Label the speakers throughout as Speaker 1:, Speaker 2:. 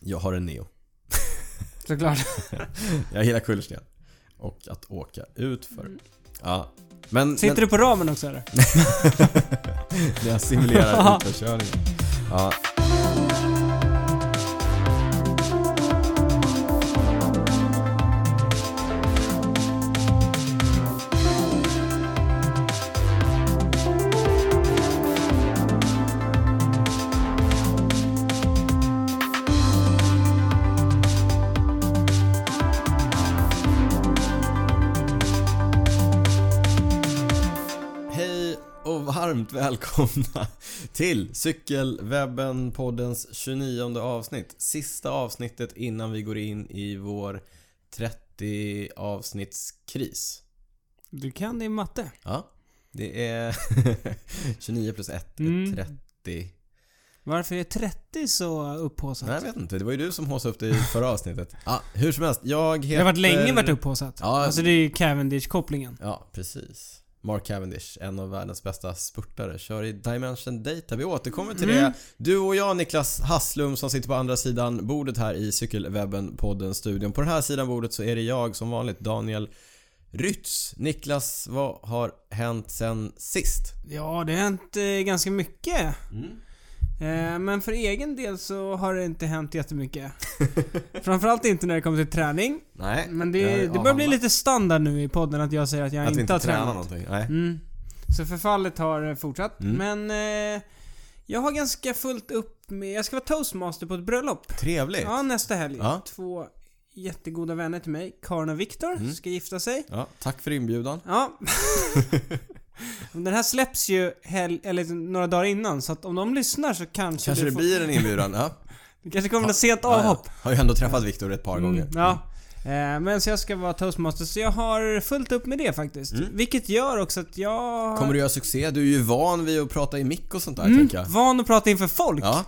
Speaker 1: Jag har en neo.
Speaker 2: Såklart.
Speaker 1: Jag gillar kullersten. Och att åka utför. Ja. Men,
Speaker 2: Sitter
Speaker 1: men
Speaker 2: du på ramen också eller?
Speaker 1: jag simulerar utförskörningen. Ja. Hej och varmt välkomna till Cykelwebben-poddens 29 avsnitt. Sista avsnittet innan vi går in i vår 30 avsnittskris.
Speaker 2: Du kan din matte.
Speaker 1: Ja, det är 29 plus 1 är
Speaker 2: Mm.
Speaker 1: 30.
Speaker 2: Varför är 30 så
Speaker 1: Nej, jag
Speaker 2: upphaussat?
Speaker 1: vet inte. Det var ju du som haussade upp det i förra avsnittet. Ja, hur som helst. Jag heter...
Speaker 2: Det har varit länge varit upphaussat.
Speaker 1: Ja.
Speaker 2: Alltså det är ju Cavendish-kopplingen.
Speaker 1: Ja, precis. Mark Cavendish, en av världens bästa spurtare, kör i Dimension Data. Vi återkommer till
Speaker 2: Mm.
Speaker 1: det. Du och jag, Niklas Hasslum, som sitter på andra sidan bordet här i Cykelwebben-podden-studion. På den här sidan bordet så är det jag, som vanligt, Daniel Rytz. Niklas, vad har hänt sen sist?
Speaker 2: Ja, det har hänt eh, ganska mycket.
Speaker 1: Mm.
Speaker 2: Eh, men för egen del så har det inte hänt jättemycket. Framförallt inte när det kommer till träning.
Speaker 1: Nej.
Speaker 2: Men
Speaker 1: jag har
Speaker 2: det, det börjar
Speaker 1: avhandlat.
Speaker 2: bli lite standard nu i podden att jag säger att jag
Speaker 1: Att vi
Speaker 2: inte,
Speaker 1: inte
Speaker 2: har
Speaker 1: tränar
Speaker 2: tränat.
Speaker 1: någonting. Nej.
Speaker 2: Mm. Så förfallet har eh, fortsatt.
Speaker 1: Mm.
Speaker 2: Men eh, jag har ganska fullt upp med... Jag ska vara toastmaster på ett bröllop.
Speaker 1: Trevligt.
Speaker 2: Ja, nästa helg.
Speaker 1: Ja.
Speaker 2: Två jättegoda vänner till mig, Karin och Viktor,
Speaker 1: Mm.
Speaker 2: ska gifta sig.
Speaker 1: Ja, tack för inbjudan.
Speaker 2: Ja. Den här släpps ju hel- eller några dagar innan, så att om de lyssnar så kanske,
Speaker 1: Kanske
Speaker 2: du
Speaker 1: det
Speaker 2: får-
Speaker 1: blir en inbjudan. Ja.
Speaker 2: Det kanske kommer att se ett
Speaker 1: Ja,
Speaker 2: avhopp.
Speaker 1: ja. Har ju ändå träffat Viktor ett par gånger.
Speaker 2: Mm, ja. Eh, Men så jag ska vara toastmaster, så jag har fullt upp med det faktiskt.
Speaker 1: Mm.
Speaker 2: Vilket gör också att jag...
Speaker 1: Kommer du göra succé? Du är ju van vid att prata i mick och sånt där,
Speaker 2: mm,
Speaker 1: tänker jag.
Speaker 2: van att prata inför folk,
Speaker 1: Ja,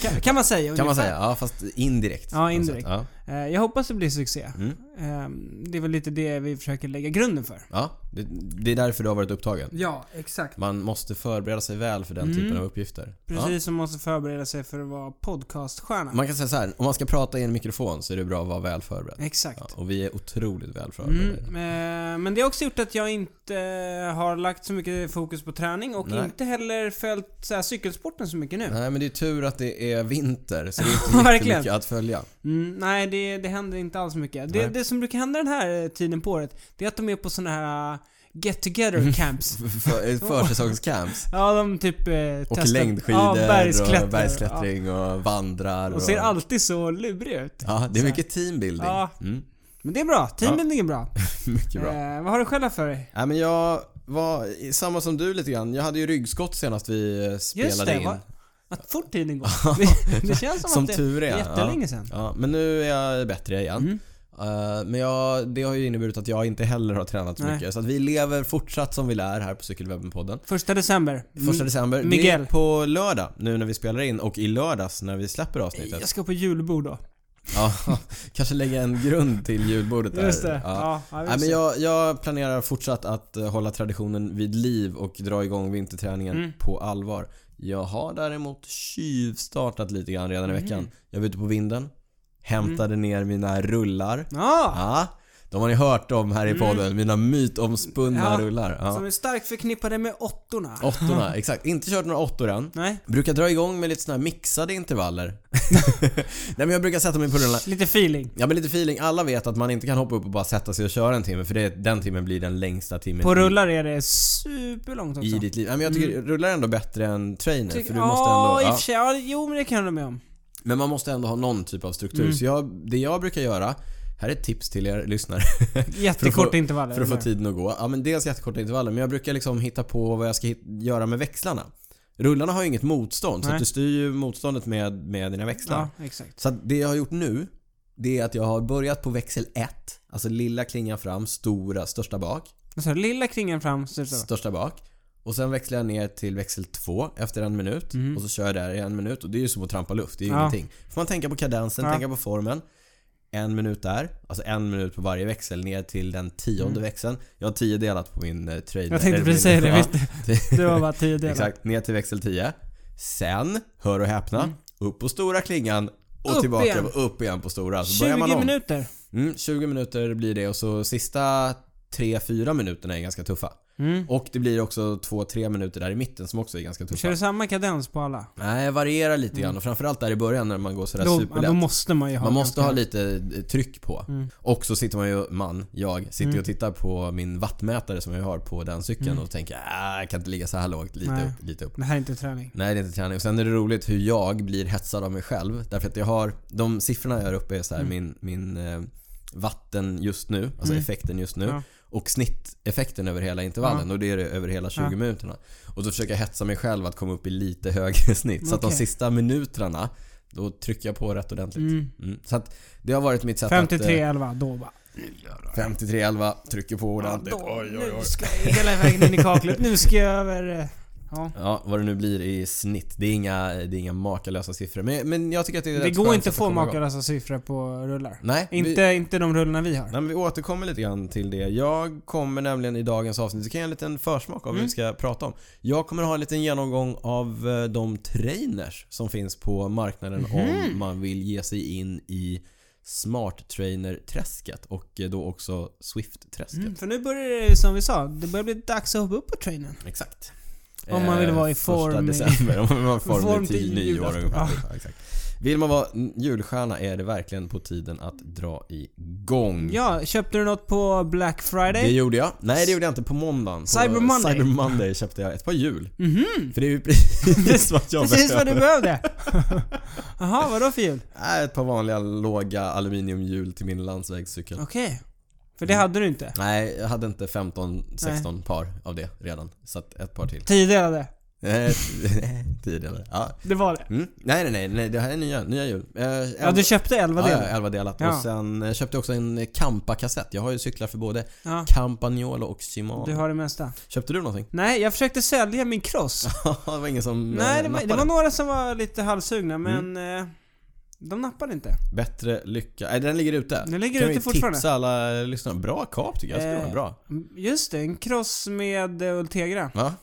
Speaker 2: kan, kan man säga.
Speaker 1: kan man
Speaker 2: ungefär.
Speaker 1: säga. Ja, fast indirekt.
Speaker 2: Ja,
Speaker 1: på något
Speaker 2: indirekt.
Speaker 1: sätt. Ja.
Speaker 2: Eh, Jag hoppas det blir succé.
Speaker 1: Mm.
Speaker 2: Eh, Det är väl lite det vi försöker lägga grunden för.
Speaker 1: ja. Det, det är därför du har varit upptagen.
Speaker 2: Ja, exakt.
Speaker 1: Man måste förbereda sig väl för den
Speaker 2: Mm.
Speaker 1: typen av uppgifter.
Speaker 2: Precis
Speaker 1: Ja.
Speaker 2: som måste förbereda sig för att vara podcaststjärna.
Speaker 1: Man kan säga så här, om man ska prata i en mikrofon så är det bra att vara väl förberedd.
Speaker 2: Exakt.
Speaker 1: Ja, och vi är otroligt väl
Speaker 2: Mm,
Speaker 1: förberedda.
Speaker 2: eh, men det har också gjort att jag inte eh, har lagt så mycket fokus på träning och
Speaker 1: Nej.
Speaker 2: inte heller följt så här, cykelsporten så mycket nu.
Speaker 1: Nej men det är tur att det är vinter så det är
Speaker 2: Ja,
Speaker 1: inte
Speaker 2: verkligen.
Speaker 1: jättemycket att följa.
Speaker 2: Mm, nej, det, det händer inte alls mycket. Det,
Speaker 1: Nej.
Speaker 2: det som brukar hända den här eh, tiden på året, det är att de är på såna här eh, get
Speaker 1: Mm.
Speaker 2: together camps.
Speaker 1: För, eh, försäsongscamps.
Speaker 2: Ja, de typ eh,
Speaker 1: Och
Speaker 2: testar-
Speaker 1: längdskidor
Speaker 2: ja,
Speaker 1: och
Speaker 2: bergsklättrar.
Speaker 1: bergsklättring och vandrar.
Speaker 2: Ja, och ser alltid så luriga ut.
Speaker 1: Ja, det är mycket teambuilding.
Speaker 2: Ja.
Speaker 1: Mm,
Speaker 2: Men det är bra. Teambuilding är bra.
Speaker 1: mycket bra.
Speaker 2: Eh, vad har du själv för dig?
Speaker 1: Nej men jag var samma som du lite grann. Jag hade ju ryggskott senast vi eh, spelade
Speaker 2: Just det,
Speaker 1: in.
Speaker 2: vad- Vad fort tiden går. Det, det känns som,
Speaker 1: Som
Speaker 2: att det
Speaker 1: tur är.
Speaker 2: är jättelänge
Speaker 1: ja.
Speaker 2: sedan.
Speaker 1: ja, men nu är jag bättre igen.
Speaker 2: Mm.
Speaker 1: Eh, men jag, det har ju inneburit att jag inte heller har tränat så
Speaker 2: Nej.
Speaker 1: mycket. Så att vi lever fortsatt som vi lär här på Cykelwebben-podden.
Speaker 2: Första december.
Speaker 1: Första december. Det är
Speaker 2: Mm. Miguel.
Speaker 1: på lördag nu när vi spelar in och i lördags när vi släpper avsnittet.
Speaker 2: Mm. Jag ska på julbord då.
Speaker 1: Ja, kanske lägga en grund till julbordet där.
Speaker 2: Just det.
Speaker 1: Ja.
Speaker 2: Ja, ja, vi
Speaker 1: Nej,
Speaker 2: får
Speaker 1: men
Speaker 2: se.
Speaker 1: jag, jag planerar fortsatt att eh, hålla traditionen vid liv och dra igång vinterträningen
Speaker 2: Mm.
Speaker 1: på allvar. Jag har däremot tjuvstartat lite grann redan i
Speaker 2: Mm.
Speaker 1: veckan. Jag var ute på vinden, hämtade ner mina rullar.
Speaker 2: Mm. Ja,
Speaker 1: Ja, de har ni hört om här i podden. Mina mytomspunna
Speaker 2: Mm. Ja,
Speaker 1: rullar.
Speaker 2: Som
Speaker 1: Ja.
Speaker 2: är starkt förknippade med åttorna.
Speaker 1: Åttorna, exakt. Inte kört några åttor än.
Speaker 2: Nej.
Speaker 1: Brukar dra igång med lite såna här mixade intervaller. Nej men jag brukar sätta mig på rullarna.
Speaker 2: Lite feeling.
Speaker 1: Ja men lite feeling. Alla vet att man inte kan hoppa upp och bara sätta sig och köra en timme för det, den timmen blir den längsta timmen
Speaker 2: På
Speaker 1: i-
Speaker 2: rullar är det superlångt också.
Speaker 1: Mm.
Speaker 2: Mm.
Speaker 1: i ditt liv. Nej, men jag tycker rullar är ändå bättre än trainer
Speaker 2: Tycker-
Speaker 1: för du måste
Speaker 2: ja,
Speaker 1: ändå...
Speaker 2: i och
Speaker 1: Ja.
Speaker 2: för sig. Ja, jo men det kan jag hålla med om.
Speaker 1: Men man måste ändå ha någon typ av struktur.
Speaker 2: Mm.
Speaker 1: Så jag, det jag brukar göra, här är ett tips till er lyssnare För att
Speaker 2: Jättekorta
Speaker 1: få-
Speaker 2: intervaller.
Speaker 1: för att få
Speaker 2: eller?
Speaker 1: tiden att gå. Ja men dels jättekorta intervaller men jag brukar liksom hitta på vad jag ska hit- göra med växlarna. Rullarna har ju inget motstånd så
Speaker 2: Nej.
Speaker 1: att du styr ju motståndet med, med dina växlar.
Speaker 2: Ja, exakt.
Speaker 1: Så att det jag har gjort nu, det är att jag har börjat på växel 1. Alltså lilla klingan fram, stora, största bak.
Speaker 2: Så, lilla kringen fram, så, så.
Speaker 1: Största bak. Och sen växlar jag ner till växel 2 efter en minut. Och så kör jag där i en minut. Och det är ju som att trampa luft, det är ju
Speaker 2: Mhm. Ja.
Speaker 1: ingenting. Får man tänka på kadensen,
Speaker 2: Ja.
Speaker 1: tänka på formen. En minut där, alltså en minut på varje växel ner till den tionde växeln. Jag har tio delat på min eh, trainer.
Speaker 2: Mm. Jag tänkte
Speaker 1: eller
Speaker 2: precis
Speaker 1: min-
Speaker 2: säga det.
Speaker 1: Ja.
Speaker 2: Visst, det var bara tio delar.
Speaker 1: Exakt, ner till växel 10. Sen, hör och häpna, upp på stora klingan, Och
Speaker 2: Mm. Upp
Speaker 1: tillbaka
Speaker 2: igen.
Speaker 1: upp igen på stora. Så Alltså,
Speaker 2: 20
Speaker 1: börjar man om.
Speaker 2: minuter.
Speaker 1: Mm, 20 minuter blir det och så sista 3-4 minuterna är ganska tuffa.
Speaker 2: Mm.
Speaker 1: Och det blir också 2-3 minuter där i mitten som också är ganska tuffa.
Speaker 2: Kör du samma kadens på alla?
Speaker 1: Nej, varierar lite grann och framförallt där i början när man går sådär
Speaker 2: Då, ja,
Speaker 1: superlätt.
Speaker 2: då måste man ju ha
Speaker 1: Man måste
Speaker 2: ganska-
Speaker 1: ha lite eh, tryck på.
Speaker 2: Mm.
Speaker 1: Och så sitter man ju, man, jag, sitter ju och tittar på min vattmätare som jag har på den cykeln och tänker "Ah, jag kan inte ligga så här lågt, lite
Speaker 2: Mm. Nej.
Speaker 1: upp, lite upp.
Speaker 2: Det här är inte träning.
Speaker 1: Nej, det är inte träning. Och sen är det roligt hur jag blir hetsad av mig själv. Därför att jag har, de siffrorna jag har uppe är så här,
Speaker 2: Mm.
Speaker 1: min, min eh, vatten just nu, alltså effekten just nu.
Speaker 2: Ja.
Speaker 1: Och snitteffekten över hela intervallen och det är det över hela 20
Speaker 2: Ja.
Speaker 1: minuterna. Och så försöker jag hetsa mig själv att komma upp i lite högre snitt. Så att de
Speaker 2: Okej.
Speaker 1: sista minuterna, då trycker jag på rätt ordentligt.
Speaker 2: Mm.
Speaker 1: Mm. Så att det har varit mitt sätt att... eh,
Speaker 2: 53 11 då bara.
Speaker 1: 5311 trycker på
Speaker 2: Ja,
Speaker 1: ordentligt.
Speaker 2: då,
Speaker 1: oj, oj,
Speaker 2: Nu
Speaker 1: oj.
Speaker 2: ska jag hela vägen in i kaklet. Nu ska jag över... eh, Ja.
Speaker 1: Ja, vad det nu blir i snitt. Det är inga, det är inga makalösa siffror. Men, men jag tycker att det är
Speaker 2: Det
Speaker 1: rätt
Speaker 2: går
Speaker 1: skönt
Speaker 2: inte
Speaker 1: sätt
Speaker 2: att få
Speaker 1: komma igång.
Speaker 2: makalösa siffror på rullar.
Speaker 1: Nej, vi,
Speaker 2: Inte,
Speaker 1: nej,
Speaker 2: inte de rullarna vi har.
Speaker 1: men vi återkommer lite grann till det. Jag kommer nämligen i dagens avsnitt, så kan jag ge en liten försmak av vad
Speaker 2: Mm.
Speaker 1: vi ska prata om. Jag kommer ha en liten genomgång av eh, de trainers som finns på marknaden
Speaker 2: Mhm.
Speaker 1: om man vill ge sig in i smart trainer-träsket och eh, då också Swift-träsket.
Speaker 2: Mm, för nu börjar det, som vi sa, det börjar bli dags att hoppa upp på trainen.
Speaker 1: Exakt. Eh,
Speaker 2: Om man vill vara i
Speaker 1: första
Speaker 2: form i-
Speaker 1: december, om man vill vara i form
Speaker 2: form
Speaker 1: i
Speaker 2: till
Speaker 1: 10 nyår
Speaker 2: julafton.
Speaker 1: ungefär.
Speaker 2: Ja.
Speaker 1: Ja, exakt. Vill man vara n- julstjärna är det verkligen på tiden att dra igång.
Speaker 2: Ja, köpte du något på Black
Speaker 1: Det
Speaker 2: Friday?
Speaker 1: gjorde jag. Nej, det gjorde jag inte. På måndagen. På
Speaker 2: Cyber Monday.
Speaker 1: Cyber Monday köpte jag ett par hjul.
Speaker 2: Mhm.
Speaker 1: För det är ju precis vad jag
Speaker 2: Precis vad
Speaker 1: behöver.
Speaker 2: du behövde! Jaha, vadå för jul?
Speaker 1: Nej, ett par vanliga låga aluminiumhjul till min landsvägscykel.
Speaker 2: Okej. För
Speaker 1: Mm.
Speaker 2: det hade du inte?
Speaker 1: Nej, jag hade inte 15-16 par av det redan. Så att ett par till.
Speaker 2: Tiodelade?
Speaker 1: Eh, Tio delar. Ja.
Speaker 2: Det var det.
Speaker 1: Mm. Nej, nej, nej, nej, det här är nya, nya hjul. Eh,
Speaker 2: Ja, du köpte elva
Speaker 1: Ja, ja,
Speaker 2: delar?
Speaker 1: 11 delat.
Speaker 2: Ja.
Speaker 1: Och sen eh, köpte jag också en Kampa-kassett. Jag har ju cyklar för både
Speaker 2: Ja.
Speaker 1: Campagnolo och Shimano.
Speaker 2: Du har det mesta.
Speaker 1: Köpte du någonting?
Speaker 2: Nej, jag försökte sälja min cross.
Speaker 1: det var ingen som eh,
Speaker 2: Nej, det var, det
Speaker 1: nappade. Mm.
Speaker 2: var några som var lite halvsugna men eh, de nappade inte.
Speaker 1: Bättre lycka. Nej, den ligger ute.
Speaker 2: Den ligger
Speaker 1: kan
Speaker 2: ute
Speaker 1: vi
Speaker 2: fortfarande.
Speaker 1: tipsa alla eh, lyssnare. Bra kap tycker jag.
Speaker 2: Eh.
Speaker 1: Äh... Bra.
Speaker 2: Just det, en cross med eh, Ultegra.
Speaker 1: Va?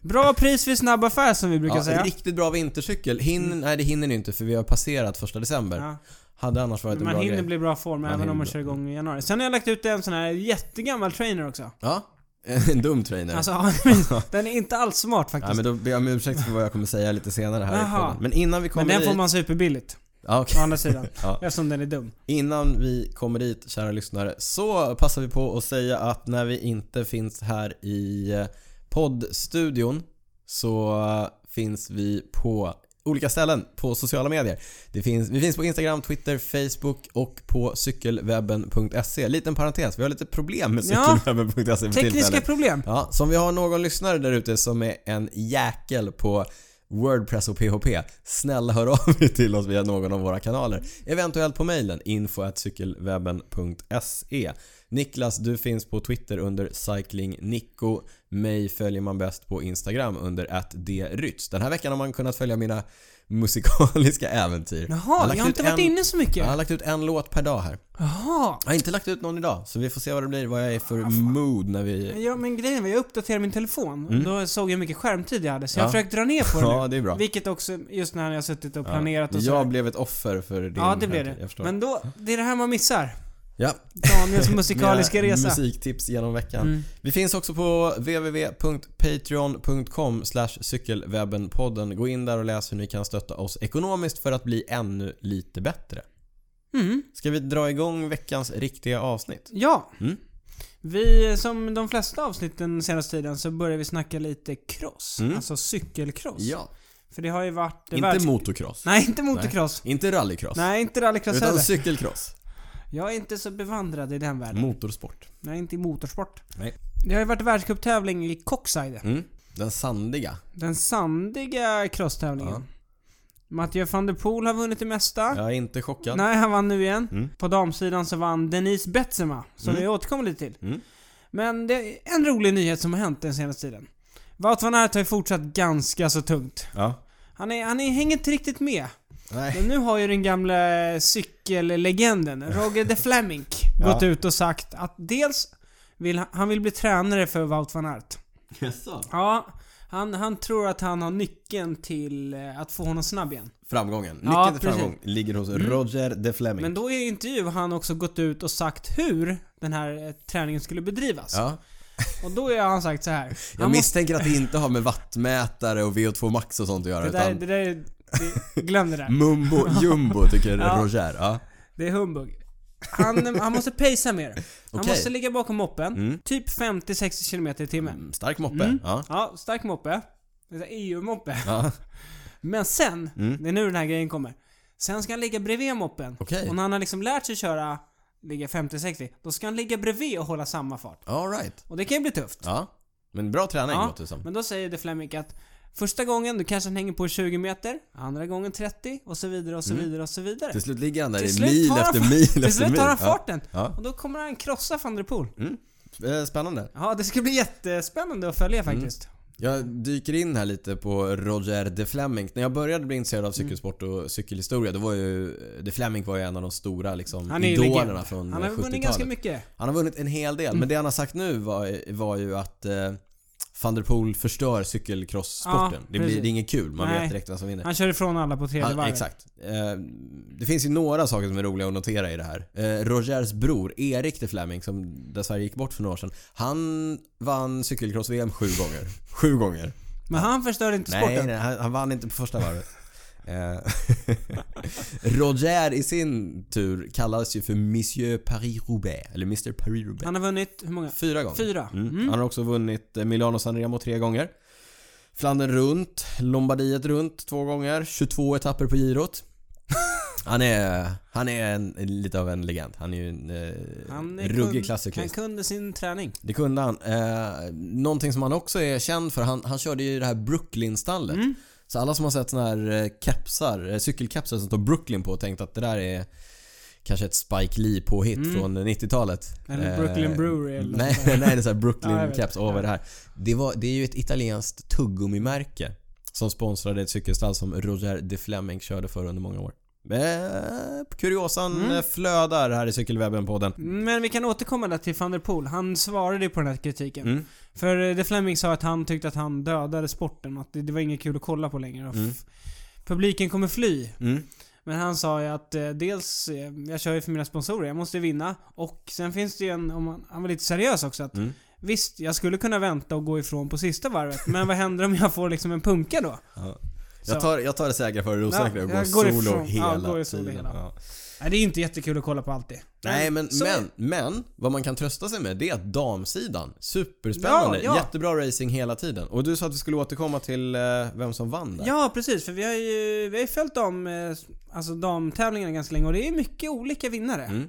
Speaker 2: Bra pris vid snabb affär som vi brukar
Speaker 1: Ja,
Speaker 2: säga. Mm.
Speaker 1: riktigt bra vintercykel. Hinner, Nej, det hinner ni inte för vi har passerat första december.
Speaker 2: Ja,
Speaker 1: Hade annars varit en
Speaker 2: man
Speaker 1: bra
Speaker 2: hinner
Speaker 1: grej.
Speaker 2: bli i bra form
Speaker 1: Man
Speaker 2: även
Speaker 1: hinner
Speaker 2: om man
Speaker 1: bli-
Speaker 2: kör igång i januari. Sen har jag lagt ut en sån här jättegammal trainer också.
Speaker 1: Ja, en dum trainer.
Speaker 2: Alltså, den är inte alls smart faktiskt.
Speaker 1: Ja, men då
Speaker 2: men,
Speaker 1: ber jag om ursäkt för vad jag kommer säga lite senare här i
Speaker 2: Jaha.
Speaker 1: podden. Men innan vi kommer
Speaker 2: den
Speaker 1: dit...
Speaker 2: får man superbilligt.
Speaker 1: Ja, okej.
Speaker 2: Å andra sidan.
Speaker 1: Ja.
Speaker 2: Eftersom den är dum.
Speaker 1: Innan vi kommer dit, kära lyssnare, så passar vi på att säga att när vi inte finns här i eh, poddstudion så eh, finns vi på olika ställen på sociala medier. Det finns, vi finns på Instagram, Twitter, Facebook och på cykelwebben.se. Liten parentes, vi har lite problem med
Speaker 2: Ja.
Speaker 1: cykelwebben.se för
Speaker 2: Tekniska
Speaker 1: tillfället.
Speaker 2: problem.
Speaker 1: Ja, så om vi har någon lyssnare där ute som är en jäkel på Wordpress och PHP. Snälla hör av er till oss via någon av våra kanaler. Eventuellt på mejlen info.cykelwebben.se Niklas, du finns på Twitter under cyclingnico. Mig följer man bäst på Instagram under @drytz. Den här veckan har man kunnat följa mina musikaliska äventyr. Jag har
Speaker 2: Jaha,
Speaker 1: lagt
Speaker 2: jag har inte
Speaker 1: ut
Speaker 2: varit
Speaker 1: en-
Speaker 2: inne så
Speaker 1: Jag
Speaker 2: mycket.
Speaker 1: har lagt ut en låt per dag här.
Speaker 2: Jaha.
Speaker 1: Jag har inte lagt ut någon idag, så vi får se vad det blir, vad jag är för mood när vi
Speaker 2: Ja men grejen var, jag uppdaterade min telefon. och Då såg jag hur mycket skärmtid jag hade. Så jag
Speaker 1: Mm. Ja.
Speaker 2: har försökt dra ner på det nu.
Speaker 1: Ja, det är bra.
Speaker 2: Vilket också, just när jag har suttit och
Speaker 1: Ja.
Speaker 2: planerat och
Speaker 1: Jag
Speaker 2: så.
Speaker 1: blev ett offer för din
Speaker 2: Ja, det blev
Speaker 1: tanke,
Speaker 2: det.
Speaker 1: Jag förstår.
Speaker 2: Men då, det är det här man missar.
Speaker 1: ja.
Speaker 2: Daniels musikaliska
Speaker 1: Mina
Speaker 2: resa.
Speaker 1: musiktips genom veckan.
Speaker 2: Mm.
Speaker 1: Vi finns också på www.patreon.com cykelwebbenpodden. Gå in där och läs hur ni kan stötta oss ekonomiskt för att bli ännu lite bättre.
Speaker 2: Mm.
Speaker 1: Ska vi dra igång veckans riktiga avsnitt?
Speaker 2: Ja.
Speaker 1: Mm.
Speaker 2: Vi, som de flesta avsnitten senaste tiden, så börjar vi snacka lite cross.
Speaker 1: Mm.
Speaker 2: Alltså cykelcross. För det har ju varit... eh,
Speaker 1: Inte
Speaker 2: världs-
Speaker 1: motocross.
Speaker 2: Nej, inte motocross.
Speaker 1: Inte rallycross.
Speaker 2: Nej, inte rallycross
Speaker 1: utan
Speaker 2: heller.
Speaker 1: cykelcross.
Speaker 2: Jag är inte så bevandrad i den världen.
Speaker 1: Motorsport.
Speaker 2: Nej, inte i motorsport.
Speaker 1: Mm. Nej.
Speaker 2: Det har ju varit världscuptävling i Coxide.
Speaker 1: Mm. Den sandiga.
Speaker 2: Den sandiga crosstävlingen.
Speaker 1: Ja.
Speaker 2: Mathieu van der Poel har vunnit det mesta.
Speaker 1: Jag är inte chockad.
Speaker 2: Ah. Nej, han vann nu igen.
Speaker 1: Mm.
Speaker 2: På damsidan så vann Denise Betsema, som
Speaker 1: Mm.
Speaker 2: vi återkommer lite till.
Speaker 1: Mm.
Speaker 2: Men det är en rolig nyhet som har hänt den senaste tiden. Wout van Aert har ju fortsatt ganska så tungt.
Speaker 1: Ja.
Speaker 2: Han, är, han är, hänger inte riktigt med.
Speaker 1: Nej.
Speaker 2: Men nu har ju den gamla cykellegenden, Roger de Fleming,
Speaker 1: Ja.
Speaker 2: gått ut och sagt att dels vill han, han vill bli tränare för Wout van Aert.
Speaker 1: Jaså?
Speaker 2: Ja, Han, han tror att han har nyckeln till eh, att få honom snabb igen.
Speaker 1: Framgången. Nyckeln
Speaker 2: Ja,
Speaker 1: till
Speaker 2: precis. Mm.
Speaker 1: framgång ligger hos Roger de Fleming.
Speaker 2: Men då i intervju har han också gått ut och sagt hur den här eh, träningen skulle bedrivas.
Speaker 1: Ja.
Speaker 2: Och då har han sagt så här.
Speaker 1: Jag
Speaker 2: Han måste-
Speaker 1: misstänker att det inte har med vattmätare och VO2 max och sånt att Mm. göra
Speaker 2: det där,
Speaker 1: utan
Speaker 2: det där, är- det, glöm det där.
Speaker 1: mumbo jumbo tycker
Speaker 2: Ja.
Speaker 1: Roger. Ja.
Speaker 2: Det är humbug. Han, han måste pacea mer. Han
Speaker 1: Okej.
Speaker 2: måste ligga bakom moppen,
Speaker 1: Mm.
Speaker 2: typ 50-60 km i timmen.
Speaker 1: Mm, Stark moppe.
Speaker 2: Mm.
Speaker 1: Ja.
Speaker 2: Ja, stark moppe. Det är så här EU-moppe.
Speaker 1: ja.
Speaker 2: Men sen,
Speaker 1: Mm.
Speaker 2: det är nu den här grejen kommer. Sen ska han ligga bredvid moppen.
Speaker 1: Okej.
Speaker 2: Och när han har liksom lärt sig köra, ligga 50-60, då ska han ligga bredvid och hålla samma fart.
Speaker 1: All right.
Speaker 2: Och det kan ju bli tufft.
Speaker 1: Ja. Men bra träning
Speaker 2: Ja,
Speaker 1: låter det som.
Speaker 2: Men då säger The Flemic att första gången då kanske han hänger på 20 meter, andra gången 30 och så vidare och så vidare och så vidare.
Speaker 1: Till slut ligger han där
Speaker 2: Till
Speaker 1: i
Speaker 2: slut
Speaker 1: Mm. mil
Speaker 2: tar han
Speaker 1: efter
Speaker 2: fa-
Speaker 1: mil efter mil.
Speaker 2: Till slut tar han
Speaker 1: Ja.
Speaker 2: farten.
Speaker 1: Ja.
Speaker 2: Och då kommer han krossa van der Poel.
Speaker 1: Eh, Spännande.
Speaker 2: Ja, det ska bli jättespännande att följa
Speaker 1: Mm.
Speaker 2: faktiskt.
Speaker 1: Jag dyker in här lite på Roger de Fleming. När jag började bli intresserad
Speaker 2: Mm.
Speaker 1: av cykelsport och cykelhistoria, då var ju... De Fleming var ju en av de stora liksom,
Speaker 2: Han är ju
Speaker 1: idolerna
Speaker 2: legend.
Speaker 1: från
Speaker 2: Han har
Speaker 1: 70-talet.
Speaker 2: vunnit ganska mycket.
Speaker 1: Han har vunnit en hel
Speaker 2: Mm.
Speaker 1: del, men det han har sagt nu var, var ju att eh, van der Poel förstör cykelcross-sporten.
Speaker 2: Ja,
Speaker 1: det blir
Speaker 2: precis.
Speaker 1: det är ingen kul, man
Speaker 2: Nej.
Speaker 1: vet direkt vem som vinner.
Speaker 2: Han kör ifrån alla på tredje
Speaker 1: Han,
Speaker 2: varvet.
Speaker 1: exakt. Eh, det finns ju några saker som är roliga att notera i det här. Eh, Rogers bror, Erik de Fleming, som dessvärre gick bort för några år sedan. Han vann cykelcross-VM sju gånger. Sju gånger.
Speaker 2: Men han förstör inte
Speaker 1: Nej,
Speaker 2: sporten.
Speaker 1: nej han, han vann inte på första varvet. Eh, Roger i sin tur kallas ju för Monsieur Paris-Roubaix. Eller Mr Paris-Roubaix.
Speaker 2: Han har vunnit, hur många?
Speaker 1: Fyra gånger.
Speaker 2: Fyra.
Speaker 1: Mm.
Speaker 2: Mm.
Speaker 1: Han har också vunnit eh, Milano Sanremo tre gånger. Flandern runt, Lombardiet runt två gånger, 22 etapper på girot. Han är, han är en, lite av en legend. Han är ju en eh,
Speaker 2: Han är
Speaker 1: ruggig
Speaker 2: Han
Speaker 1: klassikerist.
Speaker 2: kunde sin träning.
Speaker 1: Det kunde han. Eh, någonting som han också är känd för, han, han körde ju det här Brooklyn-stallet.
Speaker 2: Mm.
Speaker 1: Så alla som har sett såna här eh, kepsar, eh, cykelkepsar som står Brooklyn på och tänkt att det där är kanske ett Spike Lee-påhitt
Speaker 2: Mm.
Speaker 1: från 90-talet.
Speaker 2: Eller Brooklyn Brewery eller något
Speaker 1: Nej,
Speaker 2: sånt
Speaker 1: nej
Speaker 2: där.
Speaker 1: det är såhär
Speaker 2: Ja, jag
Speaker 1: Brooklyn
Speaker 2: vet.
Speaker 1: Caps. Åh vad är det här? Det, var, det är ju ett italienskt tuggummimärke som sponsrade ett cykelstall som Roger de Fleming körde för under många år. Eh, kuriosan
Speaker 2: Mm.
Speaker 1: eh, flödar här i Cykelwebben-podden.
Speaker 2: Men vi kan återkomma där till van der Poel. Han svarade ju på den här kritiken.
Speaker 1: Mm.
Speaker 2: För eh, The Fleming sa att han tyckte att han dödade sporten. Att det, det var inget kul att kolla på längre. Och
Speaker 1: Mm.
Speaker 2: f- Publiken kommer fly.
Speaker 1: Mm.
Speaker 2: Men han sa ju att eh, dels, eh, jag kör ju för mina sponsorer, jag måste vinna. Och sen finns det ju en, om man, han var lite seriös också, att
Speaker 1: Mm.
Speaker 2: visst, jag skulle kunna vänta och gå ifrån på sista varvet. men vad händer om jag får liksom en punka då?
Speaker 1: Ja.
Speaker 2: Så.
Speaker 1: Jag, tar, jag tar det säkra före det osäkra och går
Speaker 2: Ja, jag går
Speaker 1: solo
Speaker 2: ifrån. Ja,
Speaker 1: hela
Speaker 2: går i solo
Speaker 1: tiden.
Speaker 2: hela.
Speaker 1: Ja.
Speaker 2: Nej, det är inte jättekul att kolla på alltid.
Speaker 1: Nej men,
Speaker 2: så-
Speaker 1: men, men vad man kan trösta sig med det är att damsidan, superspännande,
Speaker 2: Ja, ja.
Speaker 1: jättebra racing hela tiden. Och du sa att vi skulle återkomma till eh, vem som vann där.
Speaker 2: Ja, precis. För vi har ju, vi har ju följt dam, eh, alltså damtävlingarna ganska länge och det är mycket olika vinnare.
Speaker 1: Mm.